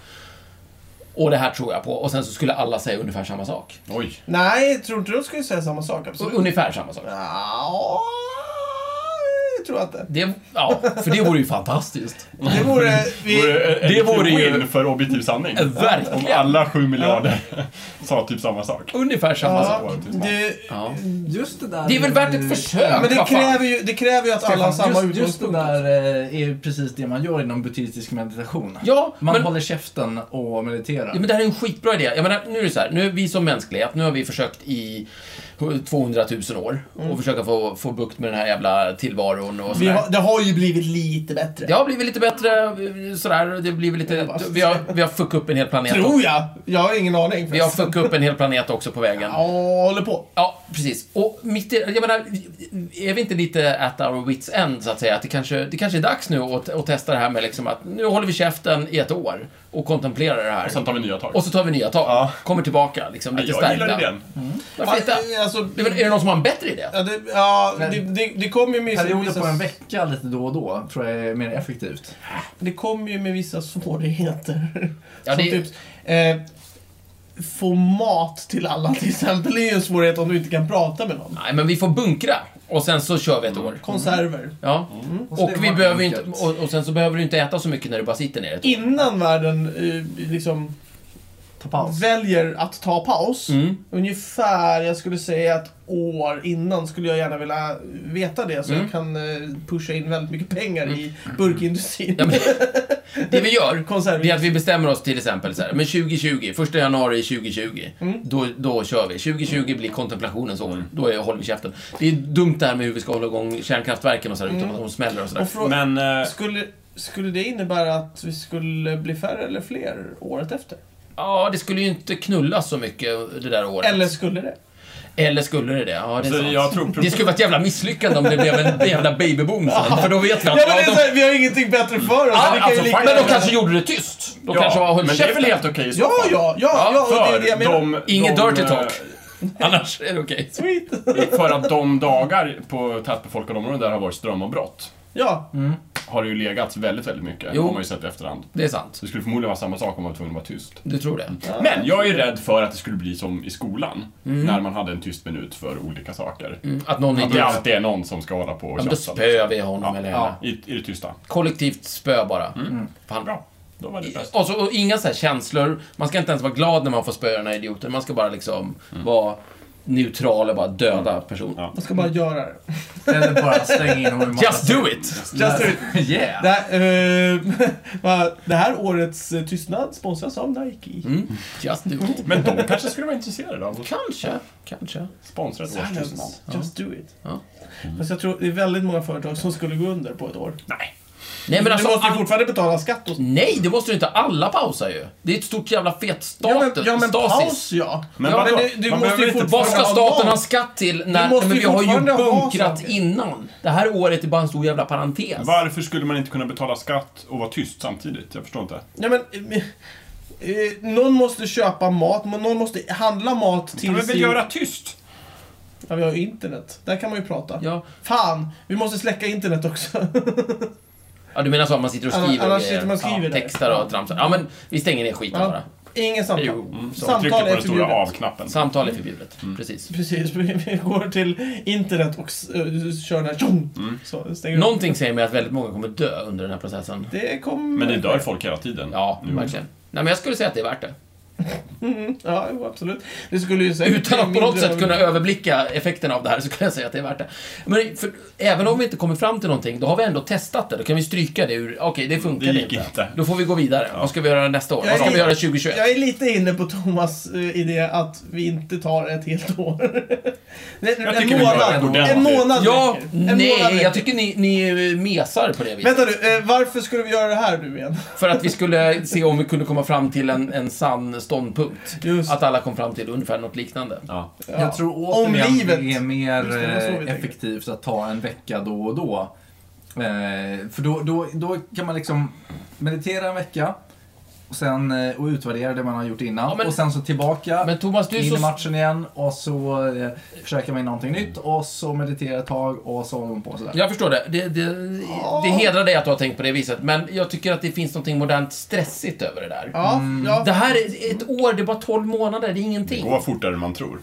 S5: Och det här tror jag på. Och sen så skulle alla säga ungefär samma sak.
S2: Oj.
S4: Nej, tror inte de skulle säga samma sak?
S5: Och
S4: Absolut.
S5: ungefär samma sak.
S4: Ja, jag tror att det.
S5: Det, ja, för det vore ju fantastiskt.
S4: Det vore... Vi,
S2: Vore,
S5: det
S2: det
S5: vore
S2: vore
S5: ju- Äh,
S2: win för objektiv sanning. Om
S5: Verkligen.
S2: alla sju miljarder [laughs] sa typ samma sak.
S5: Ungefär samma sak.
S4: ja, det,
S5: Ja.
S3: Just det där...
S5: Det är väl värt ett försök?
S4: men det
S5: vad fan.
S4: kräver, ju, det kräver ju att alla har samma
S1: just, just det
S4: utgångspunkt.
S1: där eh, är ju precis det man gör inom buddhistisk meditation.
S5: Ja,
S1: Man
S5: men-
S1: håller käften och mediterar.
S5: Ja, men det här är en skitbra idé. Jag menar, nu är det så här, nu är vi som mänsklighet, nu har vi försökt i 200 000 år och försöka få, få bukt med den här jävla tillvaron och
S4: Mm. Vi
S5: sådär.
S4: har, det har ju blivit lite bättre.
S5: Det har blivit lite bättre, sådär, det har blivit lite... Vi har, vi har fuckat upp en hel planet.
S4: alltså, Tror jag. Jag har ingen aning.
S5: Vi har
S4: förresten.
S5: fuckat upp en hel planet också på vägen.
S4: Ja, håller på.
S5: Ja, precis. Och mitt i, jag menar, är vi inte lite at our wits end, så att säga? Att det kanske, det kanske är dags nu att, att testa det här med liksom att nu håller vi käften i ett år och kontemplerar det här.
S2: Sen tar vi nya tag.
S5: Och så tar vi nya tag.
S2: Ja.
S5: Kommer tillbaka, liksom lite
S2: jag
S5: stärkta.
S2: gillar idén.
S5: Varför inte?
S4: Ja, Alltså,
S5: Det är, väl- är det någon som har en bättre idé?
S4: ja, det, ja, det, det, det kommer ju med
S1: Perioder på
S4: vissa-
S1: en vecka lite då och då tror jag är mer effektivt.
S4: Det kommer ju med vissa svårigheter.
S5: Ja,
S4: Som
S5: det-
S4: typ, eh, få mat till alla till exempel. Det är ju en svårighet om du inte kan prata med någon.
S5: Mm. Nej, men vi får bunkra. Och sen så kör vi ett
S2: Mm.
S5: år.
S4: Konserver.
S5: Ja.
S1: så
S5: Och,
S1: det
S5: vi
S1: var
S5: behöver inte,
S1: enkelt.
S5: och, och sen så behöver du inte äta så mycket när du bara sitter
S2: [laughs]
S5: ner ett år.
S4: Innan världen eh, liksom
S1: Ta paus.
S4: väljer att ta paus.
S5: Mm.
S4: Ungefär, jag skulle säga ett år innan skulle jag gärna vilja veta det. Så
S5: Mm.
S4: jag kan eh, pusha in väldigt mycket pengar i burkindustrin. [laughs]
S5: Ja, men, det vi gör,
S4: Konserver.
S5: det är att vi bestämmer oss till exempel så här, men 2020, första januari 2020,
S2: Mm.
S5: då, då kör vi. 2020 blir kontemplationens år. Då är, håller vi käften. Det är dumt det här med hur vi ska hålla igång kärnkraftverken och så där,
S2: Mm.
S5: utan att de smäller och sådär.
S4: Och frå-
S2: Men eh,
S4: skulle, skulle det innebära att vi skulle bli färre eller fler året efter?
S5: Ja, det skulle ju inte knullas så mycket det där året.
S4: Eller skulle det?
S5: Eller skulle det det? Ja, det är
S2: så
S5: sant.
S2: jag tror...
S5: Det skulle vara ett jävla misslyckande om det blev en jävla babyboom sen, för då vet vi
S4: Ja, men
S5: att...
S4: det är så
S5: de-
S4: här, vi har ingenting bättre för oss.
S5: Ja,
S4: så vi kan ju
S5: alltså,
S4: lika
S5: men de
S4: gärna-
S5: kanske gjorde det tyst. De kanske har
S2: men
S5: hållit
S2: det är väl
S5: käften.
S2: helt okej i så
S4: Ja,
S2: fall.
S4: ja, ja, ja, det är
S2: För
S4: det jag menar.
S2: de,
S5: Inget
S2: de,
S5: dirty
S2: eh,
S5: talk. Annars är det okej.
S4: Sweet. [laughs]
S2: För att de dagar på tätbefolkade områden där har varit strömavbrott
S4: Ja,
S5: Mm.
S2: har det ju legat väldigt, väldigt mycket.
S5: Jo.
S2: har man ju sett i efterhand.
S5: Det är sant.
S2: Så det skulle förmodligen vara samma sak om man var tvungen att vara tyst.
S5: Du tror det?
S2: Men jag är ju rädd för att det skulle bli som i skolan. När man hade en tyst minut för olika saker.
S5: Mm, Att någon
S2: Att
S5: inte...
S2: det
S5: Ja,
S2: alltid är någon som ska hålla på och
S5: men då
S2: tjafsa.
S5: spöar vi honom eller henne.
S2: I, I det tysta.
S5: Kollektivt spö bara. Fan.
S2: Bra. Då var det bäst.
S5: Och, så, och inga så här känslor. Man ska inte ens vara glad när man får spöa den här idioten. Man ska bara liksom vara neutral och bara döda personen.
S2: Ja.
S4: man ska bara göra det.
S1: Eller bara stänga in honom i massa
S5: Just do it!
S4: Just do it.
S1: saker. [laughs] Yeah!
S4: Det här, eh, [laughs] va, det här årets eh, tystnad sponsras av Nike.
S5: Mm. Just do it.
S2: Men de kanske skulle vara intresserade av att
S5: Kanske, kanske.
S2: sponsra ett års
S4: Silence.
S2: tystnad.
S4: Just do it. Mm.
S5: Ja.
S4: Fast jag tror det är väldigt många företag som skulle gå under på ett år.
S2: Nej.
S5: Nej men alltså...
S4: du måste ju
S5: all-
S4: fortfarande betala skatt och
S5: Nej, det måste du inte. Alla pausar ju. Det är ett stort jävla fet
S4: Ja
S5: status.
S4: men, ja, men
S5: stasis.
S4: paus ja.
S2: Men
S4: ja,
S2: vadå?
S4: men du, du
S2: Man
S4: måste
S2: behöver
S4: ju
S2: inte-
S4: fortfarande
S5: Vad ska
S4: ha
S5: staten
S4: någon.
S5: ha skatt till när...
S4: Du måste
S5: men
S4: ju
S5: vi har ju
S4: fortfarande ha
S5: bunkrat
S4: saker.
S5: innan. Det här året är bara en stor jävla parentes.
S2: Varför skulle man inte kunna betala skatt och vara tyst samtidigt? Jag förstår inte.
S4: Ja, men, eh, eh, någon måste köpa mat, men någon måste handla mat till
S2: Kan vi väl
S4: sin...
S2: göra tyst?
S4: Ja, vi har ju internet. Där kan man ju prata.
S5: Ja.
S4: Fan, vi måste släcka internet också.
S5: ja, du menar så att man sitter och
S4: Annars-
S5: skriver och
S4: annars
S5: grejer.
S4: sitter man och skriver
S5: ja,
S4: där.
S5: Textar och tramsar. Ja, men vi stänger ner
S4: [laughs]
S5: skiten
S4: Ja.
S5: bara.
S4: Ingen samtal.
S5: Jo,
S2: mm, Så
S4: Samtal
S2: trycker på
S4: är
S2: den stora
S4: förbjudet.
S2: av-knappen.
S5: samtal är förbjudet.
S4: Mm.
S5: Precis.
S4: Precis, [laughs] vi vi går till internet och s- eh, kör den här tjong!
S5: Mm.
S4: Så stänger vi
S5: Någonting säger mig att väldigt många kommer dö under den här processen.
S4: upp. Det kommer...
S2: Men det dör folk hela tiden.
S5: Ja,
S4: Mm.
S2: Nu.
S5: verkligen. Nej, men jag skulle säga att det är värt det.
S4: Ja, jo, absolut. Det skulle ju säkert...
S5: Utan att på något
S4: mindre-
S5: sätt kunna överblicka effekterna av det här så kan jag säga att det är värt det. Men för, även om vi inte kommer fram till någonting, då har vi ändå testat det. Då kan vi stryka det ur... Okej, det funkar
S2: Det gick inte.
S5: Då får vi gå vidare. Vad ska vi göra nästa år?
S4: Jag
S5: Vad ska
S4: är-
S5: vi göra 2021?
S4: Jag är lite inne på Thomas eh, idé att vi inte tar ett helt år. [laughs] Nej,
S2: Jag
S4: en
S2: tycker vi
S4: månad.
S2: gör ett ordentligt.
S4: en månad
S5: Ja,
S4: räcker. En månad
S5: nej,
S4: räcker.
S5: jag tycker ni, ni mesar på det viset.
S4: Vänta nu, eh, varför skulle vi göra det här nu
S5: [laughs]
S4: igen?
S5: För att vi skulle se om vi kunde komma fram till en, en sann ståndpunkt.
S4: Just.
S5: Att alla kom fram till ungefär något liknande.
S2: Ja.
S4: Ja.
S3: Jag tror
S4: Om
S3: återigen
S4: livet.
S3: det är mer
S4: Just det, det var så vi
S3: eh,
S4: tänker.
S3: effektivt att ta en vecka då och då. Eh, för då, då, då kan man liksom meditera en vecka och, sen, eh, och utvärdera det man har gjort innan.
S5: Ja, men-
S3: och sen så tillbaka,
S5: Men Thomas, du är
S3: in i
S5: så...
S3: matchen igen och så eh, försöker man in någonting nytt och så meditera ett tag och så håller man på sådär.
S5: Jag förstår det. Det, det, det hedrar dig att du har tänkt på det viset, men jag tycker att det finns något modernt stressigt över det där.
S4: Ja,
S3: Mm.
S4: ja.
S5: Det här är ett år, det är bara 12 månader, det är ingenting.
S2: Gå fortare än man tror.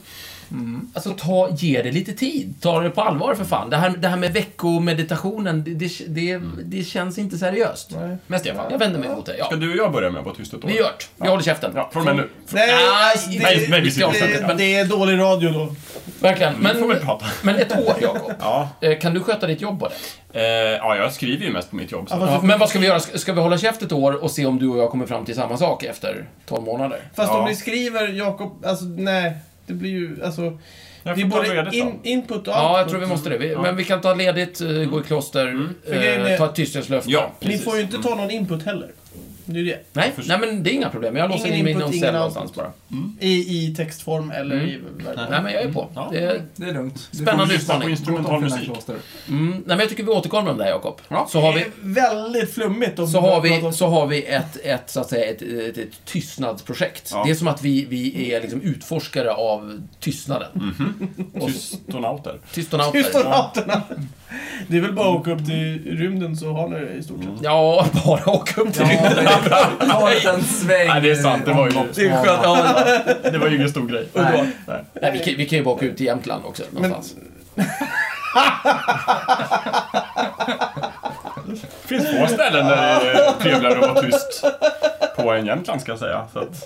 S5: Alltså, ta, ge det lite tid. Ta det på allvar för fan. Det här, det här med veckomeditationen, det, det, det, det känns inte seriöst.
S4: Nej.
S5: Men Stefan, jag vänder mig mot dig. Ja.
S2: Ska du och jag börja med att vara tyst ett år?
S5: Vi gör det. Vi håller käften.
S2: Ja, från och med nu.
S4: Nej,
S5: Nej,
S4: alltså, det,
S2: Nej, nej, vi
S5: det-
S2: sitter och
S4: det,
S2: sänder.
S4: det är dålig radio då.
S5: Verkligen.
S2: Vi får
S5: Men,
S2: väl prata.
S5: men ett år, Jakob.
S2: Ja.
S5: Eh, Kan du sköta ditt jobb på det?
S2: Eh, ja, jag skriver ju mest på mitt jobb. Så.
S4: Ja, fast-
S5: Men vad ska vi göra? Ska ska vi hålla käft ett år och se om du och jag kommer fram till samma sak efter 12 månader?
S4: Fast
S2: Ja.
S4: om ni skriver Jakob, alltså nej. Det blir ju, alltså.
S2: Jag
S4: Det är
S2: får ta
S4: både
S2: ledigt då.
S4: in, input och
S5: Ja, jag
S4: output.
S5: tror vi måste det. Vi, Men vi kan ta ledigt, eh, gå i kloster,
S4: grejen är-
S5: eh, ta ett tysthetslöfte.
S2: Ja,
S4: Ni
S2: precis.
S4: får ju inte ta någon input heller. Det är ju det.
S5: Nej,
S2: förstår.
S5: nej, men det är inga problem. Jag låser
S4: Ingen
S5: in mig i
S4: input,
S5: någon
S4: ingen
S5: cell någonstans
S4: output.
S5: bara.
S4: I, i textform eller i...
S5: Mm. Nej, men jag är på.
S2: Ja.
S5: Det är, mm,
S3: Det är lugnt. Det
S5: Spännande
S3: får-
S2: Lyssna på
S5: utmaning.
S2: instrumental musik.
S5: mm. nej, men jag tycker vi återkommer om det här, Jakob. Så har
S4: Det
S5: vi...
S4: är väldigt flummigt om
S5: Så har, vi,
S4: pratar-
S5: så har vi ett, ett, så att säga, ett, ett, ett tystnadsprojekt.
S2: Ja.
S5: Det är som att vi, vi är liksom utforskare av tystnaden. Och
S2: Tystonauter.
S5: tystonauter.
S4: Tystonauterna. Det är väl bara att åka upp till rymden så har ni det i stort
S5: Mm.
S4: sett.
S5: Ja, bara åka upp till
S3: Ja, men- ta en liten sväng.
S2: Nej, det är sant. Det var ju,
S4: Det är skönt.
S2: det var ju ingen stor grej.
S3: Nej.
S5: Nej, vi, kan, vi kan ju bara åka ut till Jämtland också.
S4: Men,
S5: Någonstans.
S2: Det finns två ställen där det är eh, trevligare att vara tyst på än Jämtland ska jag säga. Så att,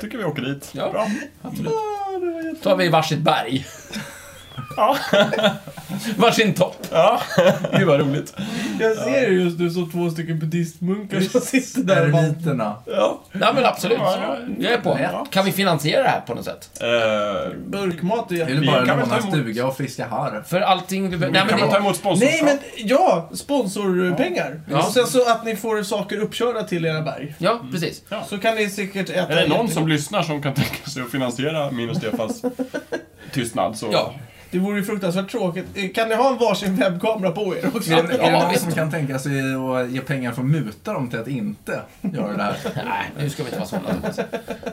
S2: tycker vi åker dit.
S5: Ja.
S2: Bra.
S5: Då tar vi varsitt berg.
S2: Ja.
S5: Varsin topp.
S2: ja. Gud vad roligt.
S4: Jag ser ju just nu som två stycken buddhistmunkar som sitter där. och bara-
S3: Eremiterna.
S2: Ja.
S5: Nej men absolut.
S2: Ja, ja.
S5: Jag är på. Kan vi finansiera det här på något sätt?
S2: Eh,
S4: Burkmat är jätte...
S3: Eller
S2: Vi
S3: bara
S2: kan väl ta
S3: låna
S2: emot-
S3: stuga och fiska harv.
S5: För allting vi behöver...
S2: Mm. kan man ta
S5: Nej,
S2: emot
S4: Nej
S2: sponsorskap?
S4: men ja, sponsorpengar.
S5: Ja.
S4: Och sen så att ni får saker uppkörda till era berg.
S5: Ja, precis.
S4: Så kan ni säkert äta...
S2: Är det någon
S4: jättegott.
S2: som lyssnar som kan tänka sig att finansiera min och Stefans tystnad så...
S5: Ja.
S4: Det vore ju fruktansvärt tråkigt. Eh, Kan ni ha en varsin webbkamera på er också?
S3: Är det, är det någon
S5: visst.
S3: som kan tänka sig att ge pengar för att muta dem till att inte göra det
S4: [laughs]
S3: här?
S5: Nej, nu ska vi inte vara sådana. Thomas.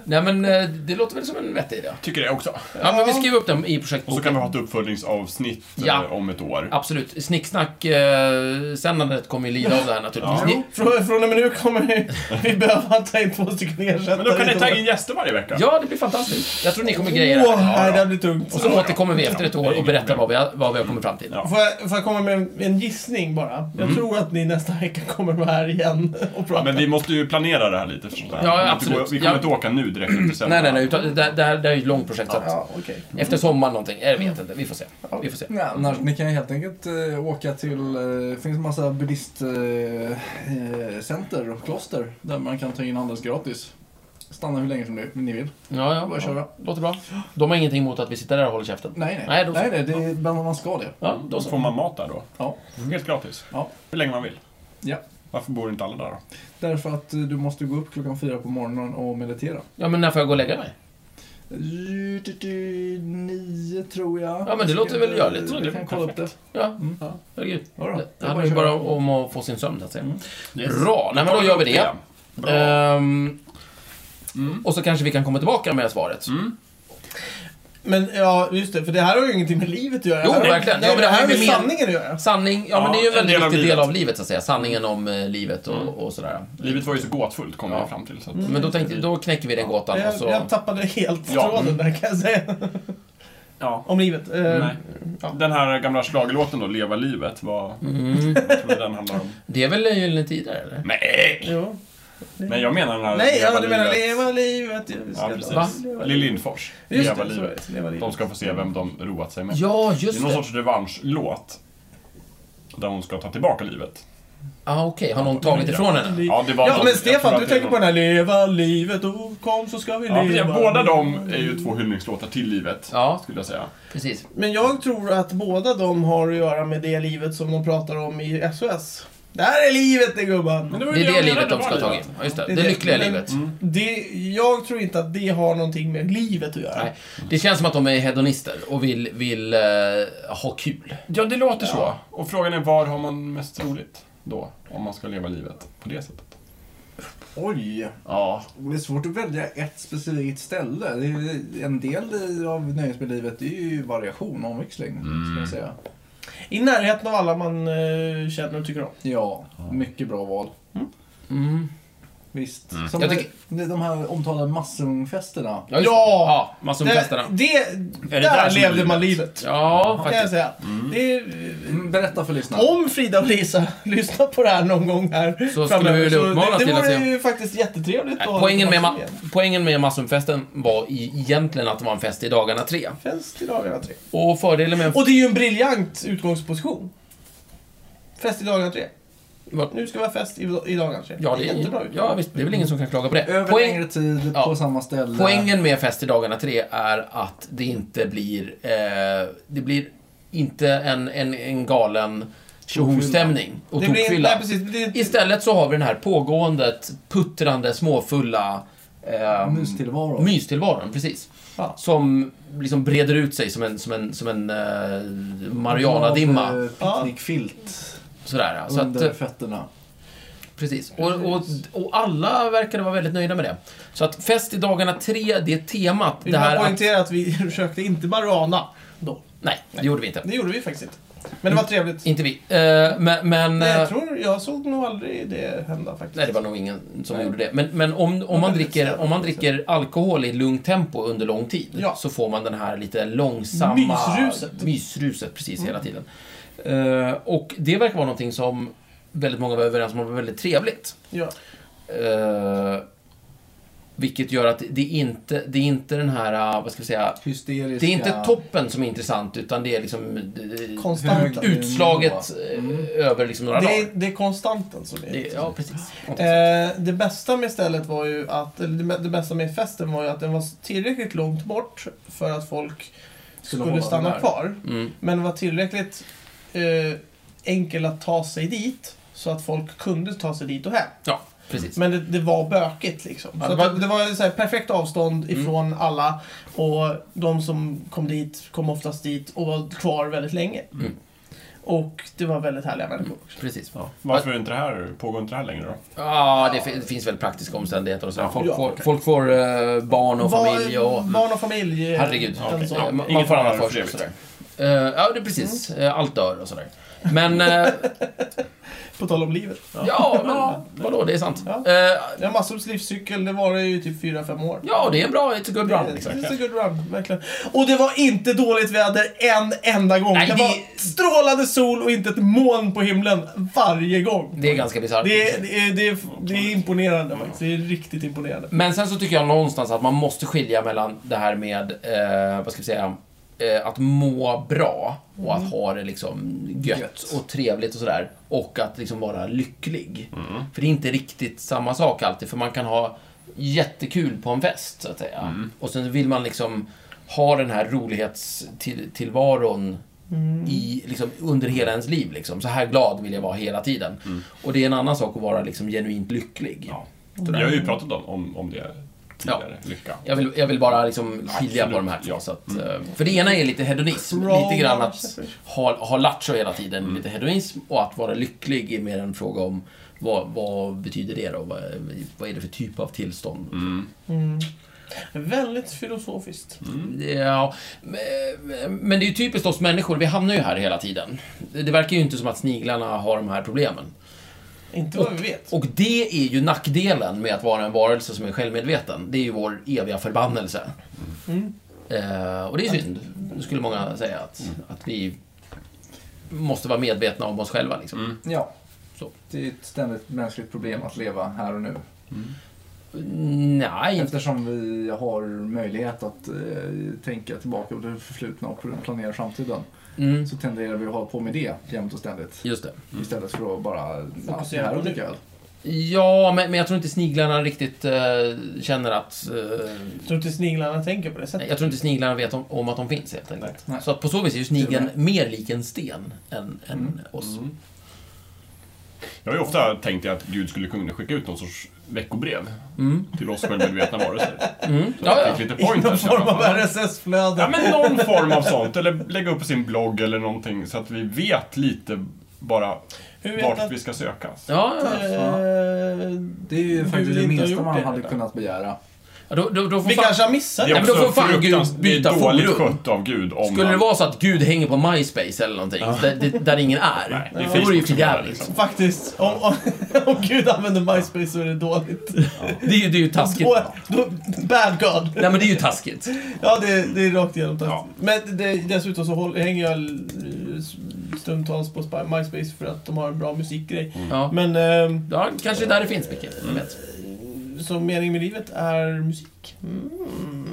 S5: Nej, men eh, det låter väl som en vettig idé.
S2: Tycker det också.
S5: Ja, men vi skriver upp dem i
S2: Och så
S5: projektboken.
S2: kan vi ha ett uppföljningsavsnick eh,
S5: Ja.
S2: om ett år.
S5: Absolut. Snicksnack-sändandet kommer ju lida av det här naturligtvis.
S2: Ja.
S5: Ni-
S4: Från, från och med nu kommer vi, vi behöva ta in två stycken ersättare.
S2: Men då kan ni ta in gäster varje vecka.
S5: Ja, det blir fantastiskt. Jag tror ni kommer greja det
S4: Åh,
S5: här.
S4: nej, det här blir tungt.
S5: Och så återkommer vi efter ett år och berättar vad vi har, vad vi har kommit fram till.
S2: Ja.
S4: Får jag, får jag komma med en, en gissning bara? Jag tror att ni nästa vecka kommer vara här igen [laughs] och prata.
S2: Mm. Men vi måste ju planera det här lite förstås. Vi
S5: Ja,
S2: kommer inte
S5: absolut.
S2: gå- Vi kommer
S5: Ja.
S2: inte åka nu direkt efter
S5: Nej,
S2: sändningen.
S5: nej, nej. Utan det, det, här, det här är ett långt projekt. Så att
S4: Ja, okej.
S5: efter sommaren någonting. Jag vet inte. Vi får se. Vi får se.
S3: Ja, annars, ni kan ju helt enkelt eh, åka till, eh, finns en massa buddhistcenter eh, center och kloster där man kan ta in andas gratis. Stanna hur länge som ni, ni vill.
S5: Ja, ja.
S3: Bara köra.
S5: Låter bra. De har ingenting emot att vi sitter där och håller käften.
S3: Nej, nej.
S5: Nej, då så.
S3: nej, nej det är bland man ska det.
S5: Ja, då
S2: Då får
S5: så.
S2: man mat där då.
S3: Ja.
S2: Helt gratis.
S3: Ja.
S2: Hur länge man vill.
S3: Ja.
S2: Varför bor inte alla där då?
S3: Därför att eh, du måste gå upp klockan fyra på morgonen och meditera.
S5: Ja, men när får jag gå och lägga mig?
S3: Du, du, du, Nio, tror jag.
S5: Ja, men det låter väl görligt.
S2: Ja,
S3: Jag
S2: det är
S3: kan
S2: väl
S3: kolla upp det.
S5: Ja,
S3: Mm.
S5: herregud.
S3: Ja, då.
S5: Det
S3: Jag
S5: handlar
S3: bara
S5: ju
S3: kör.
S5: bara om att få sin sömn, så att säga.
S3: Mm.
S5: Bra! Nej, men då gör vi det.
S2: Bra.
S5: Ehm,
S2: Mm.
S5: Och så kanske vi kan komma tillbaka med svaret.
S2: Mm.
S4: Men ja, just det. För det här har ju ingenting med livet att göra.
S5: Jo,
S4: Det här-
S5: verkligen.
S4: Nej,
S5: Ja, men
S4: det här har
S5: det
S4: med
S5: här är mer-
S4: sanningen att göra.
S5: Sanning, ja, men
S2: Ja,
S5: det är ju en
S2: en
S5: väldigt
S2: del av
S5: viktig del
S2: livet.
S5: av livet så att säga. Sanningen om eh, livet och, och sådär.
S2: Livet var ju så gåtfullt kom
S5: Ja. Mm.
S2: vi fram till. Så att,
S5: Men då, tänkte, då knäcker vi den gåtan och
S4: Jag,
S5: så...
S4: jag tappade helt
S2: Alltså- Ja.
S4: tråden där kan jag säga.
S2: Ja.
S4: Om livet. Eh,
S2: Nej. Den här gamla schlagerlåten då, Leva livet, vad
S5: Mm.
S2: vad tror du den handlar om?
S5: Det är väl Gyllene Tider, eller?
S2: Nej!
S4: Jo.
S2: Nej, jag menar den här
S4: Nej, ja,
S2: Leva
S4: du menar
S2: livet.
S4: leva livet. jag ska
S2: Ja,
S4: leva
S2: precis.
S4: livet.
S2: Lill Lindfors.
S4: Just
S2: Leva
S4: det, så är
S2: livet.
S4: det. Leva livet.
S2: De ska få se vem de roat sig med.
S5: Ja,
S2: Det
S5: just
S2: är någon
S5: det.
S2: sorts revanschlåt. Där hon ska ta tillbaka livet.
S5: Ah, Okej, har någon tagit ifrån henne?
S2: Ja, det var
S4: Ja,
S2: någon-
S4: men
S2: jag tror
S4: Stefan,
S2: att
S4: du
S2: det är
S4: tänker på
S2: någon-
S4: den här leva livet och kom så ska vi
S2: Ja,
S4: leva.
S2: precis. båda de är ju två hyllningslåtar till livet,
S5: Ja.
S2: skulle jag säga.
S5: Precis.
S4: Men jag tror att båda de har att göra med det livet som de pratar om i SOS. Det här är livet det gubban!
S5: Det är det livet de ska ha tagit. Ja, just det.
S4: Det är
S5: Det
S4: det.
S5: lyckliga
S4: Men-
S5: livet.
S2: Mm.
S4: Det, jag tror inte att det har någonting med livet att göra.
S5: Nej, det känns som att de är hedonister och vill, vill eh, ha kul.
S2: Ja, det låter så. Och frågan är var har man mest roligt då? Om man ska leva livet på det sättet.
S3: Oj!
S2: Ja.
S3: Det är svårt att välja ett specifikt ställe. Det är- En del av nöjeslivet är ju variation och omväxling.
S5: Mm.
S3: Ska jag säga.
S4: I närheten av alla man eh, känner och tycker om.
S3: Ja, mycket bra val.
S5: Mm.
S3: Visst. Som
S5: Jag tycker-
S3: de, de här omtalade massungfesterna.
S5: Ja! just det.
S4: Ja!
S5: ja massor med
S4: Det,
S5: festerna.
S4: det,
S2: det
S4: där,
S2: där som är
S4: levde man
S2: livet?
S4: livet.
S5: Ja,
S4: Kan jag
S5: faktiskt.
S4: säga. Det är,
S3: Mm, Berätta för lyssnarna.
S4: Om Frida och Lisa [laughs] lyssnar på det här någon gång här
S5: skulle
S4: framöver,
S5: vi vilja
S4: så
S5: uppmana
S4: det,
S5: till
S4: det
S5: att
S4: vore
S5: se-
S4: ju faktiskt jättetrevligt att ha
S5: Poängen med,
S4: lite
S5: ma-
S4: massor igen.
S5: poängen med Massumfesten var i- egentligen att det var en fest i dagarna tre.
S4: Fest i dagarna tre.
S5: Och fördelen med en...
S4: Och det är ju en briljant utgångsposition. Fest i dagarna tre.
S5: Vad-
S4: Nu ska vi ha fest i, i dagarna tre.
S5: Ja, det är,
S4: jättebra ut.
S5: ja, visst, det är väl ingen som kan klaga på det.
S3: Över
S5: Poäng,
S3: längre tid,
S5: Ja.
S3: på samma ställe.
S5: poängen med Fest i dagarna tre är att det inte blir... Eh, det blir inte en, en, en galen tjohostämning och
S4: det blir,
S5: tokfylla.
S4: nej, precis, det,
S5: Istället så har vi den här pågåendet, puttrande, småfulla... Eh,
S3: Mystillvaro.
S5: mystillvaron, precis.
S4: Ja.
S5: Som liksom breder ut sig som en, som en, som en eh, Mariana-dimma.
S3: Av, eh, Picknickfilt
S5: Sådär, ja. så att,
S3: under
S5: eh,
S3: fötterna.
S5: precis. Och, och, och alla verkade vara väldigt nöjda med det. Så att fest i dagarna tre, det är temat.
S4: vi
S5: det
S4: vill
S5: här
S4: bara
S5: att,
S4: [laughs] poängtera att vi försökte inte bara rana då.
S5: nej, det gjorde vi inte.
S4: Det gjorde vi faktiskt inte. Men det var trevligt.
S5: Inte vi. Eh, men... men
S4: Nej,
S5: eh,
S4: jag tror, jag såg nog aldrig det hända faktiskt.
S5: Nej, det var nog ingen som
S4: Nej.
S5: gjorde det. Men, men om, om, man
S4: det är
S5: dricker,
S4: lite
S5: om man dricker alkohol i lugnt tempo under lång tid
S4: Ja.
S5: så får man den här lite långsamma...
S4: Mysruset. Mm.
S5: mysruset, precis, hela tiden. Eh, och det verkar vara någonting som väldigt många var överens om var väldigt trevligt.
S4: Ja.
S5: Eh, vilket gör att det är inte det är inte den här, eh, vad ska vi säga,
S3: Hysteriska...
S5: det är inte toppen som är intressant utan det är liksom eh,
S4: Konstanten.
S3: Hög-
S5: utslaget eh, över liksom några
S4: Mm. Det
S5: dagar.
S4: är, det är konstanten som är
S5: Det, ja, precis.
S4: Eh, det bästa med stället var ju att, eller det, bä- det bästa med festen var ju att den var tillräckligt långt bort för att folk
S3: Skulle
S4: skulle,
S3: hålla den
S4: stanna
S3: där.
S4: kvar.
S5: Mm.
S4: Men var tillräckligt eh, enkel att ta sig dit så att folk kunde ta sig dit och hem.
S5: Ja, precis.
S4: Men det, det var bökigt liksom.
S5: Ja,
S4: så
S5: det var- Mm.
S4: att det, det var så här, perfekt avstånd ifrån alla och de som kom dit kom oftast dit och var kvar väldigt länge.
S5: Mm.
S4: Och det var väldigt härliga människor också.
S5: Precis. Ja.
S2: Varför är inte det här, pågår inte det här längre då?
S5: Ja, det, fi- det finns väl praktiska omständigheter och så. Folk,
S4: Ja,
S5: får,
S4: okej.
S5: folk får eh, barn och
S4: Bar-
S5: familj och...
S4: Barn och familj. eh,
S5: Herregud.
S4: den
S5: okej.
S4: som-
S5: Ja, man, man
S2: Inget
S5: får annat
S2: barn
S5: för
S2: för
S5: sig. och
S2: evigt.
S5: sådär. Eh, ja, det är precis. Eh, allt dör och sådär.
S4: [laughs]
S5: Men, eh,
S4: På tal om livet.
S5: ja, men vadå, det är sant.
S4: Ja.
S5: Eh,
S4: Det har Massors livscykel, det var det ju typ 4-5 år.
S5: ja, det är en bra, it's a good
S4: Det är-
S5: run. Liksom.
S4: det är a good run, verkligen. Och det var inte dåligt väder en enda gång.
S5: Nej,
S4: det,
S5: det-
S4: var strålande sol och inte ett moln på himlen varje gång.
S5: Det är ganska bisarrt.
S4: Det är, det, är, det, är, det är imponerande faktiskt. Det är riktigt imponerande.
S5: Men sen så tycker jag någonstans att man måste skilja mellan det här med, eh, vad ska vi säga, eh, att må bra och att ha det liksom gött,
S3: Gött.
S5: och trevligt och sådär. Och att liksom vara lycklig. För det är inte riktigt samma sak alltid, för man kan ha jättekul på en fest, så att säga. Och sen vill man liksom ha den här rolighetstillvaron i, liksom, under hela ens liv. Liksom. Så här glad vill jag vara hela tiden. Och det är en annan sak att vara liksom, genuint lycklig.
S2: Vi har ju pratat om, om, om det tidigare. Lycka.
S5: Jag vill, jag vill bara liksom skilja på
S2: Absolut,
S5: de här två.
S2: ja.
S5: Så att, eh, För det ena är lite hedonism.
S4: Bra
S5: Lite grann att
S4: match.
S5: ha, ha lattjo hela tiden. Lite hedonism. Och att vara lycklig är mer en fråga om vad, vad betyder det då? Vad, vad är det för typ av tillstånd?
S4: Väldigt filosofiskt.
S5: Mm. Ja, men- men det är ju typiskt oss människor. Vi hamnar ju här hela tiden. Det verkar ju inte som att sniglarna har de här problemen.
S4: Inte vad vi vet.
S5: Och det är ju nackdelen med att vara en varelse som är självmedveten. Det är ju vår eviga förbannelse. Eh, och det är synd, skulle många säga. Att, att vi måste vara medvetna om oss själva. Liksom.
S3: Ja.
S5: Så.
S3: Det är ett ständigt mänskligt problem att leva här och nu.
S5: Nej, inte.
S3: Eftersom vi har möjlighet att eh, tänka tillbaka på det förflutna och planera framtiden
S5: Mm,
S3: så tenderar vi att hålla på med det jämt och ständigt.
S5: just det.
S3: Istället för att bara ja, det
S4: Fokusera
S3: här
S4: på
S3: och
S4: nu.
S3: dricka öl.
S5: Ja, men, men jag tror inte sniglarna riktigt eh, känner att... eh,
S4: Jag tror inte sniglarna tänker på det
S5: nej,
S4: sättet.
S5: jag tror inte sniglarna vet om, om att de finns helt enkelt.
S3: Nej.
S5: Så att på så vis är ju snigeln mer lik en sten än, än oss.
S2: Jag har ju ofta tänkt att Gud skulle kunna skicka ut någon sorts veckobrev
S5: Mm.
S2: till oss självmedvetna varelser.
S5: Mm.
S2: Så att
S5: Ja,
S2: jag
S5: ja.
S2: fick lite
S4: I någon
S2: pointers i
S4: form
S2: alla
S4: av
S2: fall. Ja,
S4: RSS-flöde.
S2: men någon form av sånt. Eller lägga upp på sin blogg eller någonting så att vi vet lite bara
S4: Hur vet
S2: vart
S4: att-
S2: vi ska sökas.
S5: Ja, ja.
S4: Eh,
S3: Det är ju
S4: Gud
S3: faktiskt det
S4: inte har
S3: minsta
S4: gjort
S3: man
S4: det
S3: hade
S4: redan.
S3: kunnat begära.
S5: Ja, Då, då, då får
S4: Vi
S5: fan-
S4: kanske har missat
S2: Det
S5: Ja,
S2: är
S5: men då
S2: också
S5: får fan Gud
S2: fruktans- det är
S5: byta
S2: dåligt
S5: forum.
S2: skött av Gud om
S5: Skulle det
S2: han-
S5: vara så att Gud hänger på MySpace eller någonting, där, där- där ingen är,
S2: Nej, det är
S5: då vore det ju
S2: Facebook
S5: för
S2: som gäller
S5: jävligt.
S2: liksom.
S4: Faktiskt, om, om, [laughs] om Gud använder MySpace så är det dåligt.
S5: Det är ju, det är ju taskigt.
S4: Då, då, bad God.
S5: Nej men det är ju taskigt.
S4: Ja, det, det är rakt igenom
S2: Ja.
S4: taskigt. Men det, dessutom så håller, hänger jag eh, stundtals på Spy- MySpace för att de har en bra musikgrej.
S5: Ja.
S4: Men eh,
S5: ja, kanske där det finns mycket. Jag vet.
S4: så mening med livet är musik. Mm,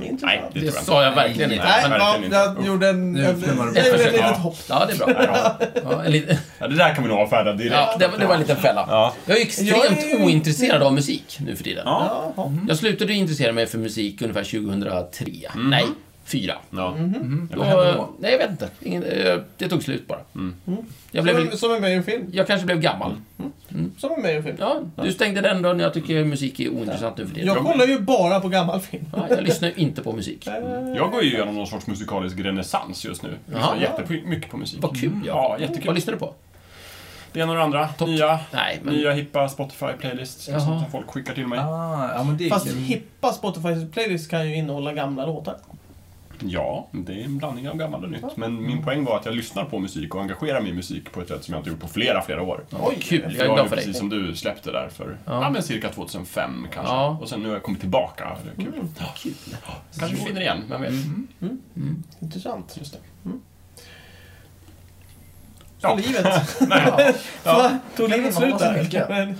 S2: Nej,
S4: intressant.
S2: det
S4: Nej,
S5: Det
S2: tror jag inte.
S5: sa jag verkligen inte.
S4: Nej,
S2: Nej,
S5: Men,
S4: ja,
S2: verkligen
S4: jag
S2: inte.
S4: gjorde en,
S3: Nu
S4: jag, jag
S3: flimmar
S4: gjorde
S3: det
S4: ett
S3: bort.
S4: litet
S2: Ja.
S4: hopp.
S5: ja, det är bra. Ja, en liten-
S2: Ja, det där kan vi nog avfärda direkt.
S5: ja, det, var- det var en liten fälla.
S2: Ja.
S5: Jag är
S4: Jag
S5: extremt
S4: är-
S5: ointresserad av musik nu för tiden.
S2: Ja.
S4: Jaha.
S5: Jag slutade intressera mig för musik ungefär 2003.
S4: Mm.
S5: Nej, 4.
S2: Ja.
S5: Då, nej, jag vet inte. Ingen, eh, det tog slut bara.
S4: Mm.
S5: Jag, blev,
S4: Som,
S5: väl-
S4: en- som är med i en film.
S5: jag kanske blev gammal.
S4: Som är med i en film.
S5: Ja, du stängde den dörren. Jag tycker musik är ointressant nu för tiden.
S4: Jag kollar ju bara på gammal film.
S5: Ja, jag lyssnar ju inte på musik.
S2: Jag går ju igenom någon sorts musikalisk renässans just nu.
S5: Jaha.
S2: Lyssnar jättemycket på musik.
S5: Vad kul.
S2: Ja, jättekul.
S5: Vad lyssnar du på?
S2: Det ena och det andra. Nya,
S5: Nej, men...
S2: nya hippa Spotify-playlists.
S5: Jaha.
S2: Sånt som folk skickar till mig. Mm.
S3: Ah, ja, men det är
S4: Fast
S3: kul.
S4: hippa Spotify-playlists kan ju innehålla gamla låtar.
S2: Ja, det är en blandning av gammalt och nytt. Men
S5: Mm.
S2: min poäng var att jag lyssnar på musik och engagerar mig i musik på ett sätt som jag inte gjort på flera, flera år.
S5: Oj, kul.
S2: Jag
S5: Jag är
S2: har ju
S5: glad för dig.
S2: precis som du släppte där för ja. men cirka 2005 kanske.
S5: Ja.
S2: Och sen nu har jag kommit tillbaka. Det är Mm. kul. Ja. Kanske vi finner igen, vem vet?
S4: Intressant.
S2: Just det.
S4: Ja.
S2: Ja. [laughs]
S4: Livet. [laughs] Va? Tog livet
S3: man
S4: slut
S3: vara så
S4: där?
S3: mycket?
S4: Men,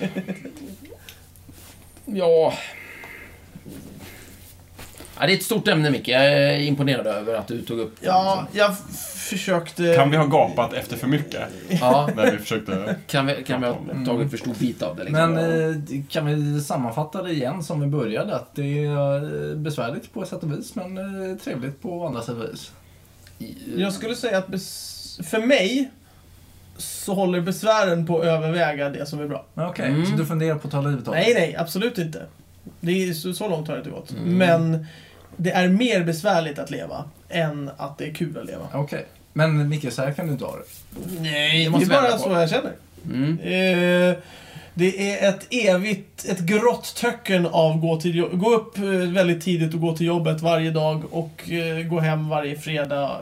S5: [laughs] Ja. ja. Det är ett stort ämne, Micke. Jag är imponerad över att du tog upp
S4: ja, jag försökte...
S2: Kan vi ha gapat efter för mycket?
S5: ja
S2: När vi försökte...
S5: kan, vi, kan vi ha tagit för stor bit av det? Liksom?
S3: Men eh, kan vi sammanfatta det igen som vi började? Att det är eh, besvärligt på ett sätt och vis, men eh, trevligt på andra sätt och vis.
S4: Jag skulle säga att bes... för mig så håller besvären på att överväga det som är bra.
S3: Okej,
S5: Mm.
S3: så du funderar på att ta livet av
S4: Nej, nej, absolut inte. Det är så, så långt har det inte gått.
S5: Mm.
S4: Men det är mer besvärligt att leva än att det är kul att leva.
S3: Okej. Men Micke, så här kan du inte ha det.
S5: Nej, det
S4: Det är
S5: måste vi ändra
S4: bara
S5: på.
S4: så jag känner.
S5: Mm.
S4: Eh, det är ett evigt, ett grått töcken av gå, till, jo- gå upp eh, väldigt tidigt och gå till jobbet varje dag och eh, gå hem varje fredag.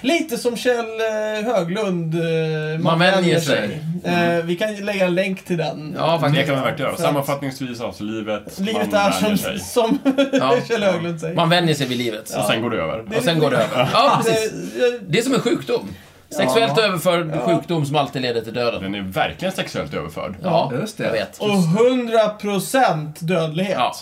S4: Lite som Kjell eh, Höglund. eh,
S5: Man vänjer sig. Mm.
S4: Eh, vi kan lägga en länk till den.
S5: Ja,
S2: Det
S5: faktiskt.
S2: kan vi verkligen göra.
S4: För att
S2: Sammanfattningsvis, alltså livet,
S4: Livet
S2: man
S4: är som,
S2: vänjer sig.
S4: som [laughs]
S5: Ja.
S4: Kjell Höglund säger.
S5: Man vänjer sig vid livet.
S2: Och sen går det över.
S5: Och sen går det över. Ja, precis.
S4: Eh, eh,
S5: Det är som en sjukdom. Sexuellt överförd sjukdom som alltid leder till döden.
S2: Den är verkligen sexuellt överförd.
S5: Ja,
S3: Just det.
S5: jag vet.
S4: Och 100% dödlighet.
S5: Ja.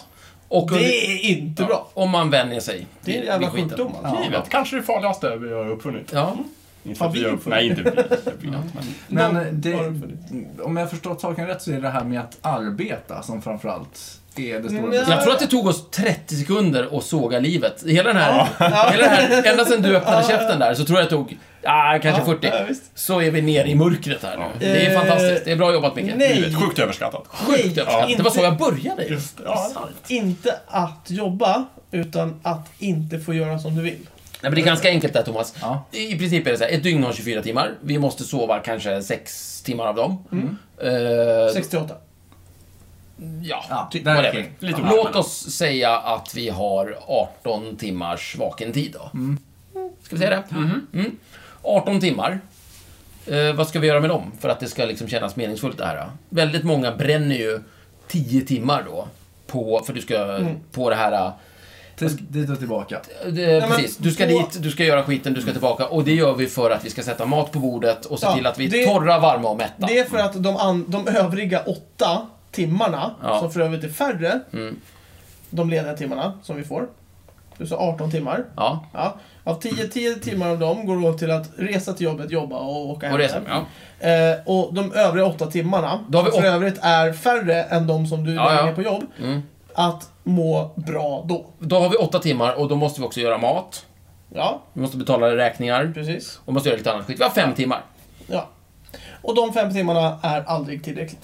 S5: Och
S4: Det är inte bra.
S5: Om man vänjer sig.
S4: Det är en
S5: vid-
S4: jävla
S5: vid skiten.
S4: sjukdom Mm. alltså.
S2: Livet kanske det farligaste vi har uppfunnit.
S5: Ja.
S2: Inte för att vi har uppfunnit. Nej, inte vi. Det är inte.
S3: Men
S4: Någon
S3: eh,
S4: har
S3: det,
S4: det för
S3: om jag förstått saken rätt så är det här med att arbeta som framförallt är det stora.
S4: Nej.
S5: Jag tror att det tog oss 30 sekunder att såga livet. Hela den här... Hela den här ända sedan du öppnade käften där så tror jag det tog, ah, kanske
S4: Ja, ja,
S5: 40.
S4: visst.
S5: Så är vi nere i mörkret här nu. Det är
S4: Eh,
S5: fantastiskt. Det är bra jobbat, Micke.
S4: nej.
S2: Livet. Sjukt överskattat.
S5: Sjukt överskattat. Det var så jag började ju.
S2: Just det. Ja.
S4: Inte att jobba, utan att inte få göra som du
S5: Äh,
S4: vill.
S5: Nej, men det är ganska enkelt där Thomas.
S3: Ja.
S5: I princip är det så här, ett dygn har 24 timmar. Vi måste sova kanske 6 timmar av dem.
S4: Mm.
S5: Eh,
S4: 68.
S5: ja,
S3: Ja,
S5: typ
S3: där är
S5: whatever.
S3: kring.
S2: Lite
S5: Låt oss säga att vi har 18 timmars vaken tid då. Ska vi säga det? Mm. 18 timmar. Eh, vad ska vi göra med dem för att det ska liksom kännas meningsfullt det här? Då? Väldigt många bränner ju 10 timmar då. På, för du ska
S4: Mm.
S5: på det här... eh,
S3: Till, dit och tillbaka.
S5: det,
S4: men
S5: precis. Du ska
S4: då-
S5: dit, du ska göra skiten, du ska tillbaka. Och det gör vi för att vi ska sätta mat på bordet och se
S4: Ja,
S5: till att vi är
S4: det-
S5: torra, varma och mätta.
S4: Det är för att de, an, de övriga åtta timmarna,
S5: Ja. Mm.
S4: som för övrigt är färre, de lediga timmarna som vi får. Du sa 18 timmar.
S5: Ja,
S4: Ja. Av 10, 10 timmar av dem går åt till att resa till jobbet, jobba och åka hem.
S5: och det är så.
S4: igen.
S5: Ja.
S4: Eh, och de övriga åtta timmarna,
S5: Då har vi
S4: som för
S5: åt-
S4: övrigt är färre än de som du
S5: Ja, Mm.
S4: lägger
S5: ja.
S4: ner på jobb, att må bra då.
S5: Då har vi åtta timmar och då måste vi också göra mat.
S4: Ja,
S5: Vi måste betala räkningar.
S4: precis.
S5: Och måste göra lite annat skit. Vi har fem timmar.
S4: Ja. Och de fem timmarna är aldrig tillräckligt.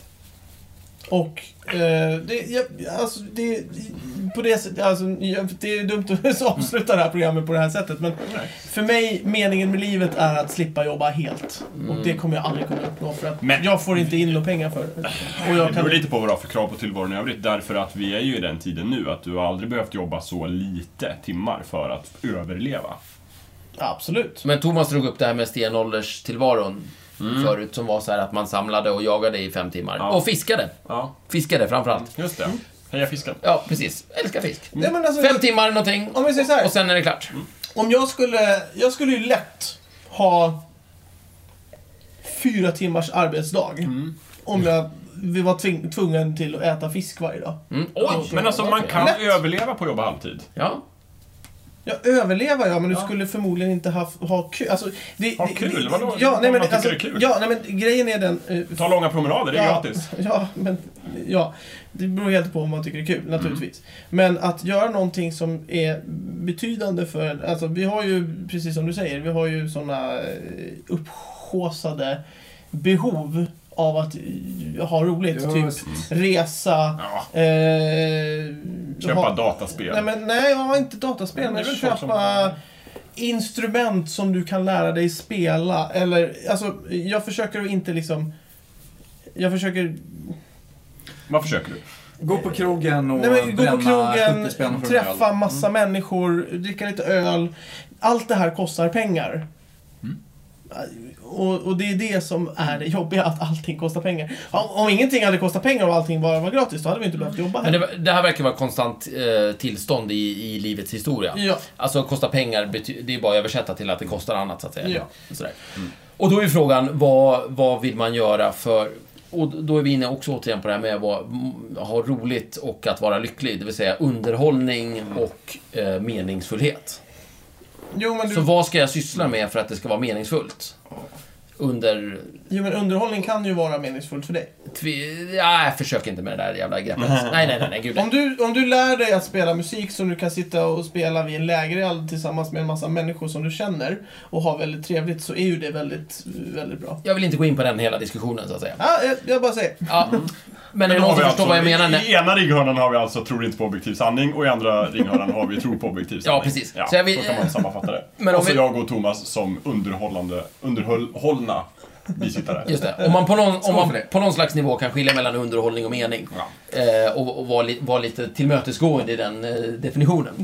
S4: Och eh, det, jag, alltså, det, på det, sätt- alltså, jag- det är dumt att [laughs] avsluta det här programmet på det här sättet. Men för mig, meningen med livet är att slippa jobba helt. Och det kommer jag aldrig kunna uppnå för att
S2: Men-
S4: jag får inte in några pengar för det. Och
S2: Det
S4: jag
S2: beror
S4: kan,
S2: lite på vad du har för krav på tillvaron i övrigt. Därför att vi är ju i den tiden nu att du har aldrig behövt jobba så lite timmar för att överleva.
S4: absolut.
S5: Men Thomas drog upp det här med stenålderstillvaron förut som var så här att man samlade och jagade i fem timmar.
S2: Mm. Ja.
S5: Och fiskade.
S2: Ja,
S5: Fiskade framförallt.
S2: just det. Heja fisken.
S5: Ja, precis. Älskar fisk.
S4: Nej, men alltså,
S5: Fem timmar någonting.
S4: Om vi säger så här.
S5: Och sen är det klart. Mm.
S4: Om jag skulle, jag skulle ju lätt ha fyra timmars arbetsdag.
S2: Mm.
S4: Om jag vi var tving, tvungen till att äta fisk varje dag.
S5: Mm.
S4: Oj,
S2: Men alltså man kan
S4: Lätt.
S2: överleva på att jobba halvtid.
S5: Ja.
S4: Jag överlever ja, men du skulle förmodligen inte ha, ha kul. Alltså, det,
S2: Ha
S4: det-
S2: kul?
S4: det-
S2: Vadå?
S4: Ja, nej, men,
S2: Man tycker
S4: alltså,
S2: det är kul.
S4: ja, nej, men grejen är den... eh,
S2: Ta långa promenader, det är
S4: ja,
S2: gratis.
S4: [laughs] Ja, men, ja, det beror helt på vad man tycker är
S2: Mm.
S4: kul naturligtvis. Men att göra någonting som är betydande för en- alltså vi har ju, precis som du säger, vi har ju eh, sådana upphaussade behov av att eh, ha roligt. Typ resa,
S2: Ja.
S4: eh,
S2: Köpa dataspel.
S4: Nej, men, nej, jag har inte dataspel.
S2: Men
S4: Men
S2: det är väl
S4: köpa
S2: folk som-
S4: instrument som du kan lära dig spela. Eller, alltså, jag försöker att inte liksom... Jag försöker...
S2: Vad försöker du?
S3: Gå på krogen och
S4: Nej, men, gå på
S3: bränna 70
S4: krogen,
S3: spänn för en
S4: träffa
S3: öl.
S4: massa människor, dricka lite öl. Allt det här kostar pengar. Och, och det är det som är det jobbiga, att allting kostar pengar. Om, om ingenting hade kostat pengar och allting bara var gratis, då hade vi inte behövt jobba här.
S5: Men det, var- det här verkar vara ett konstant eh, tillstånd i, i livets historia.
S4: Ja.
S5: Alltså kosta pengar, bety- det är bara att översätta till att det kostar annat så att säga.
S4: Ja.
S5: Sådär. Mm. Och då är frågan, vad, vad vill man göra för... Och då är vi inne också återigen på det här med att vara- m- ha roligt och att vara lycklig. Det vill säga underhållning och eh, meningsfullhet.
S4: Jo, men,
S5: Så
S4: du,
S5: vad ska jag syssla med för att det ska vara meningsfullt? Under...
S4: jo, men underhållning kan ju vara meningsfullt för dig.
S5: Tvi... Ja, försök inte med det där jävla greppet. Nej, nej, nej, nej gud nej.
S4: Om du, om du lär dig att spela musik som du kan sitta och spela vid en lägereld tillsammans med en massa människor som du känner och ha väldigt trevligt så är ju det väldigt, väldigt bra.
S5: Jag vill inte gå in på den hela diskussionen så att säga.
S4: Ja, jag, jag bara säger.
S5: Ja. Men är det
S2: Då Mm.
S5: någon
S2: har vi
S5: som förstår
S2: alltså-
S5: vad jag menar?
S2: I
S5: Nej.
S2: ena ringhörnan har vi alltså tror inte på objektiv sanning och i andra ringhörnan har vi tror på objektiv sanning.
S5: precis.
S2: Ja,
S5: Så
S2: så,
S5: jag vill-
S2: kan man sammanfatta det.
S5: Men om
S2: och så
S5: vi-
S2: jag och Thomas som underhållande, underhållna bisittare.
S5: Just det. Om man, på någon, om
S3: för
S5: man
S3: det.
S5: på någon slags nivå kan skilja mellan underhållning och mening. Eh, och och vara li, var lite tillmötesgående i den eh,
S3: [laughs]
S5: definitionen.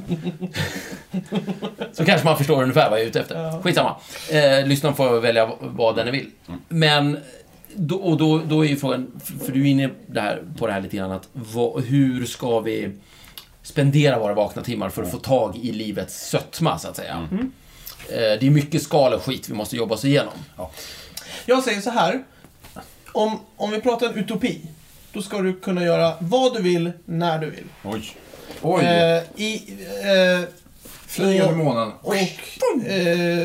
S5: så kanske man förstår ungefär vad jag är ute efter.
S4: Ja.
S5: Skitsamma. Eh, lyssnaren får välja v- vad den vill.
S3: Mm.
S5: Men, då, och då, då är ju frågan, f- för du är inne det här, på det här lite grann, att vad, hur ska vi spendera våra vakna timmar för att
S3: Mm.
S5: få tag i livets sötma, så att säga? Eh, det är mycket skal och skit vi måste jobba oss igenom.
S4: Jag säger så här. Om, om vi pratar en utopi, då ska du kunna göra vad du vill, när du vill.
S2: Oj.
S3: Oj,
S4: Eh, i, eh,
S3: flyg över
S4: och,
S3: månen.
S4: och eh,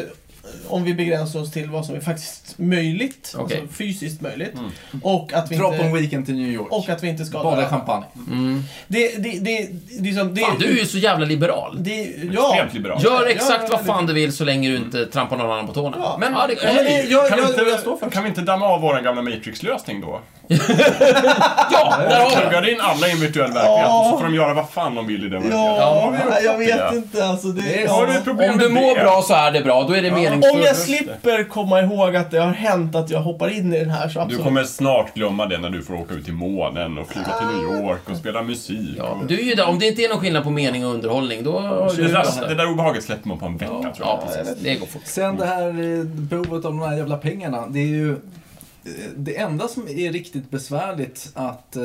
S4: om vi begränsar oss till vad som är faktiskt möjligt,
S5: Okej.
S4: alltså fysiskt möjligt.
S3: Mm.
S4: Och, att vi
S3: Dra på en
S4: inte,
S3: weekend till New York.
S4: och att vi inte skadar
S3: Bada i
S4: varandra.
S3: champagne.
S4: Det, det, det, det, är som- det,
S5: Fan, du är ju så jävla liberal.
S4: det, ja.
S2: Extremt liberalt.
S5: Gör
S4: Ja,
S5: exakt
S4: ja,
S5: vad
S4: det-
S5: fan du vill så länge du inte trampar någon annan på tårna.
S4: Ja.
S5: Men ja, det
S4: Ja,
S5: kommer
S4: men
S5: ju.
S4: det- jag,
S2: Kan,
S4: jag,
S2: vi
S4: jag, står
S2: inte,
S4: för
S2: kan vi inte damma av vår gamla Matrix-lösning då?
S5: Ja, där har vi det.
S2: Pluggar in alla i en virtuell verklighet och så får de göra vad fan de vill i den verkligheten.
S4: Ja, jag vet
S2: det.
S4: inte alltså. Det,
S3: Det är-
S4: ja.
S2: Har du ett problem
S5: Om du
S2: med
S5: mår
S2: det?
S5: bra så är det bra, då är det meningsfullt.
S4: Om jag slipper komma ihåg att det har hänt att jag hoppar in i den här så
S2: Du
S4: absolut.
S2: kommer snart glömma det när du får åka ut till månen och flyga till New York och spela musik.
S5: Ja,
S2: och...
S5: du är ju där. Om det inte är någon skillnad på mening och underhållning, då har du
S2: det,
S5: ju
S2: där, det
S5: röster.
S2: där obehaget släpper man på en vecka
S5: Ja,
S2: tror jag.
S5: ja, precis. Det går fort.
S3: Sen det här eh, behovet av de här jävla pengarna. Det är ju eh, det enda som är riktigt besvärligt att, eh,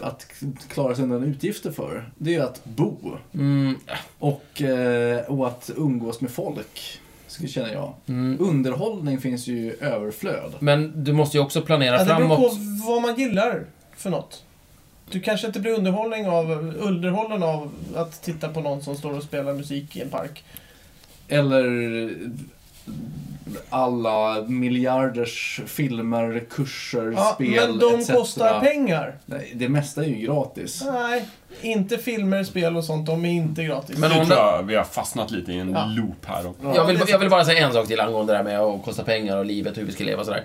S3: att klara sig undan utgifter för. Det är ju att bo
S5: Mm,
S3: och, eh, och att umgås med folk. Skulle känna jag.
S5: mm.
S3: Underhållning finns ju i överflöd.
S5: Men du måste ju också planera
S4: Ja, Alltså, det beror på
S5: framåt.
S4: vad man gillar för något. Du kanske inte blir underhållning av, underhållen av att titta på någon som står och spelar musik i en park.
S3: Eller alla miljarders filmer, kurser,
S4: Ja,
S3: spel
S4: men de
S3: etc.
S4: kostar pengar.
S3: Nej, det mesta är ju gratis.
S4: Nej, inte filmer, spel och sånt. De är inte gratis.
S5: Men
S2: Men nu
S5: om
S2: tror jag vi har fastnat lite i en
S4: Ja.
S2: loop här. Och...
S5: Jag vill, jag vill bara säga en sak till angående det här med att kosta pengar och livet, hur vi ska leva och sådär.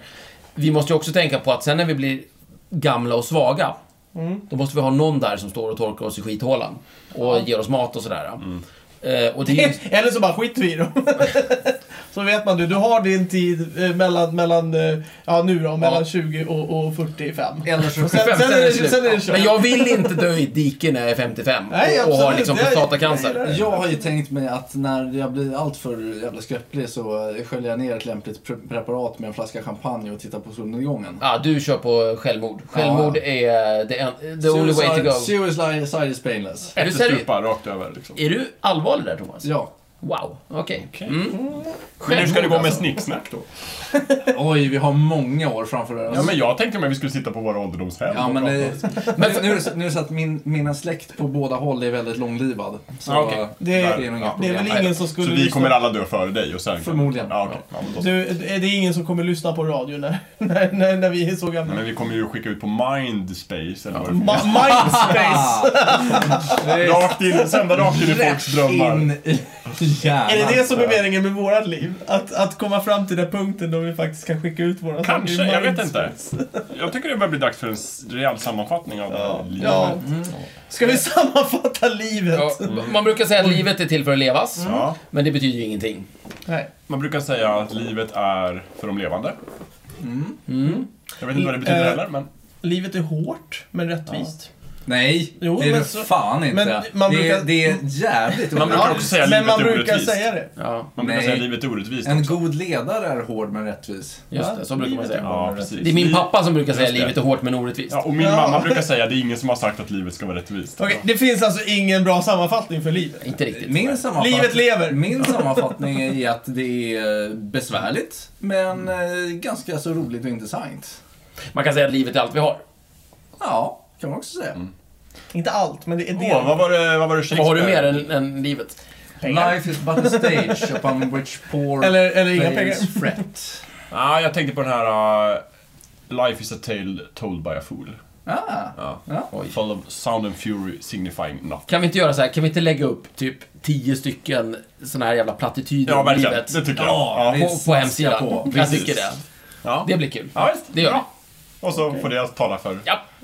S5: Vi måste ju också tänka på att sen när vi blir gamla och svaga,
S4: Mm.
S5: då måste vi ha någon där som står och torkar oss i skithålan. Och ger oss mat och sådär.
S2: Mm.
S5: Eh, och det är ju...
S4: [laughs] Eller så bara skiter vi i dem. så vet man du, du har din tid eh, mellan, mellan eh, ja nu då, mellan
S5: Ja.
S4: 20 och, och 45.
S3: Eller så
S5: [laughs]
S4: Sen, sen, är det,
S5: slut.
S4: sen är det kört.
S5: Men jag vill inte dö i ett dike när jag är 55
S4: Nej,
S5: och, och har
S4: absolut.
S5: liksom
S4: Jag- jag
S5: prostatacancer.
S4: gillar
S3: Jag har ju tänkt mig att när jag blir alltför jävla skröplig så eh, sköljer jag ner ett lämpligt pre- preparat med en flaska champagne och tittar på solnedgången.
S5: Ja, du kör på självmord. Självmord
S3: Ja.
S5: är the, en, the only way to go.
S3: Suicide suicide is painless.
S5: Är du,
S2: Ett
S5: seriös?
S2: stupa rakt över liksom.
S5: är du allvarlig där Thomas?
S3: Ja.
S5: Wow, okej.
S2: Okej.
S5: Mm.
S2: Men hur ska det gå med
S5: Självmord, alltså.
S2: snicksnack då?
S3: Oj, vi har många år framför oss.
S2: Ja, men jag tänkte mig att vi skulle sitta på våra ålderdomshem
S3: Ja,
S2: och
S3: men
S2: prata.
S3: det, nu, nu, är det så- nu är det så att min, mina släkt på båda håll är väldigt långlivad. Så
S2: Ja, okej.
S3: eh,
S4: Det är-
S3: nog inga
S2: ja.
S4: Det är väl
S3: problem.
S4: ingen som skulle
S2: Så vi
S4: lyssna-
S2: kommer alla dö före dig och sen...
S3: Förmodligen.
S2: Ja, okej. ja, men, då...
S4: Du, eh, det är ingen som kommer lyssna på radio när, [laughs] när, när, när vi är så gamla.
S2: men vi kommer ju skicka ut på Mindspace eller vad det
S4: Ma- Mindspace!
S2: är. Rakt in, sända rakt in i folks drömmar.
S3: In i hjärnan.
S4: är det det som är meningen med vårat liv? Att, att komma fram till den punkten då vi faktiskt kan skicka ut våra
S2: Kanske,
S4: saker i
S2: jag vet inte.
S4: Mindspace.
S2: Jag tycker det börjar bli dags för en s- rejäl sammanfattning av det här livet.
S4: Ja. Ska vi sammanfatta livet?
S5: Ja, man brukar säga att livet är till för att levas,
S2: Ja.
S5: men det betyder ju ingenting.
S4: Nej.
S2: Man brukar säga
S5: Mm.
S2: att livet är för de levande. Jag vet inte vad det betyder
S4: Mm. Eh,
S2: heller, men...
S4: Livet är hårt, men rättvist.
S3: Nej,
S4: Jo,
S3: det är
S4: men
S3: det
S4: så-
S3: fan inte.
S4: men man
S3: det,
S4: brukar-
S3: är, det är jävligt
S2: Man brukar också säga
S4: men
S2: livet
S4: man
S2: är
S4: brukar
S2: orättvist.
S4: säga det.
S5: Ja,
S2: Man brukar
S3: Nej.
S2: säga livet är orättvist
S3: En
S2: också.
S3: god ledare är hård men rättvis.
S5: just det. Så brukar man
S4: livet är
S5: säga.
S2: Ja, precis.
S5: Det är min pappa som brukar säga
S2: Just det.
S5: livet är hårt men orättvist.
S2: Ja, och min
S4: Ja.
S2: mamma brukar säga det är ingen som har sagt att livet ska vara rättvist.
S4: Okej, det finns alltså ingen bra sammanfattning för livet.
S5: Inte riktigt.
S3: Min sammanfattning,
S4: Livet lever. [laughs]
S3: Min sammanfattning är att det är eh, besvärligt, men eh, ganska så roligt och intressant.
S5: Man kan säga att livet är allt vi har.
S3: Ja, kan man också säga.
S2: Mm.
S4: Inte allt, men det är det.
S2: Åh, vad var det, vad var det
S5: Vad har du mer
S2: Shakespeare?
S5: än, än livet?
S3: Life is but a stage upon which poor
S4: Eller, eller inga pengar.
S3: players fret.
S2: Ja, jag tänkte på den här uh, Life is a tale told by a fool.
S3: Ah,
S2: Ja.
S3: ja.
S5: Oj.
S2: Full of sound and fury signifying nothing.
S5: Kan vi inte göra så här? Kan vi inte lägga upp typ tio stycken såna här jävla plattityder
S2: Ja,
S5: om
S2: verkligen.
S5: livet?
S2: Det tycker jag.
S3: Ja,
S2: Ja.
S3: vi
S5: På, på
S3: satsar
S5: hemsidan.
S3: på.
S5: Jag
S2: Precis.
S5: tycker det.
S2: Ja.
S5: Det blir kul.
S2: Ja, visst.
S5: Det gör vi.
S2: Bra. Och så får det tala för,
S5: Ja.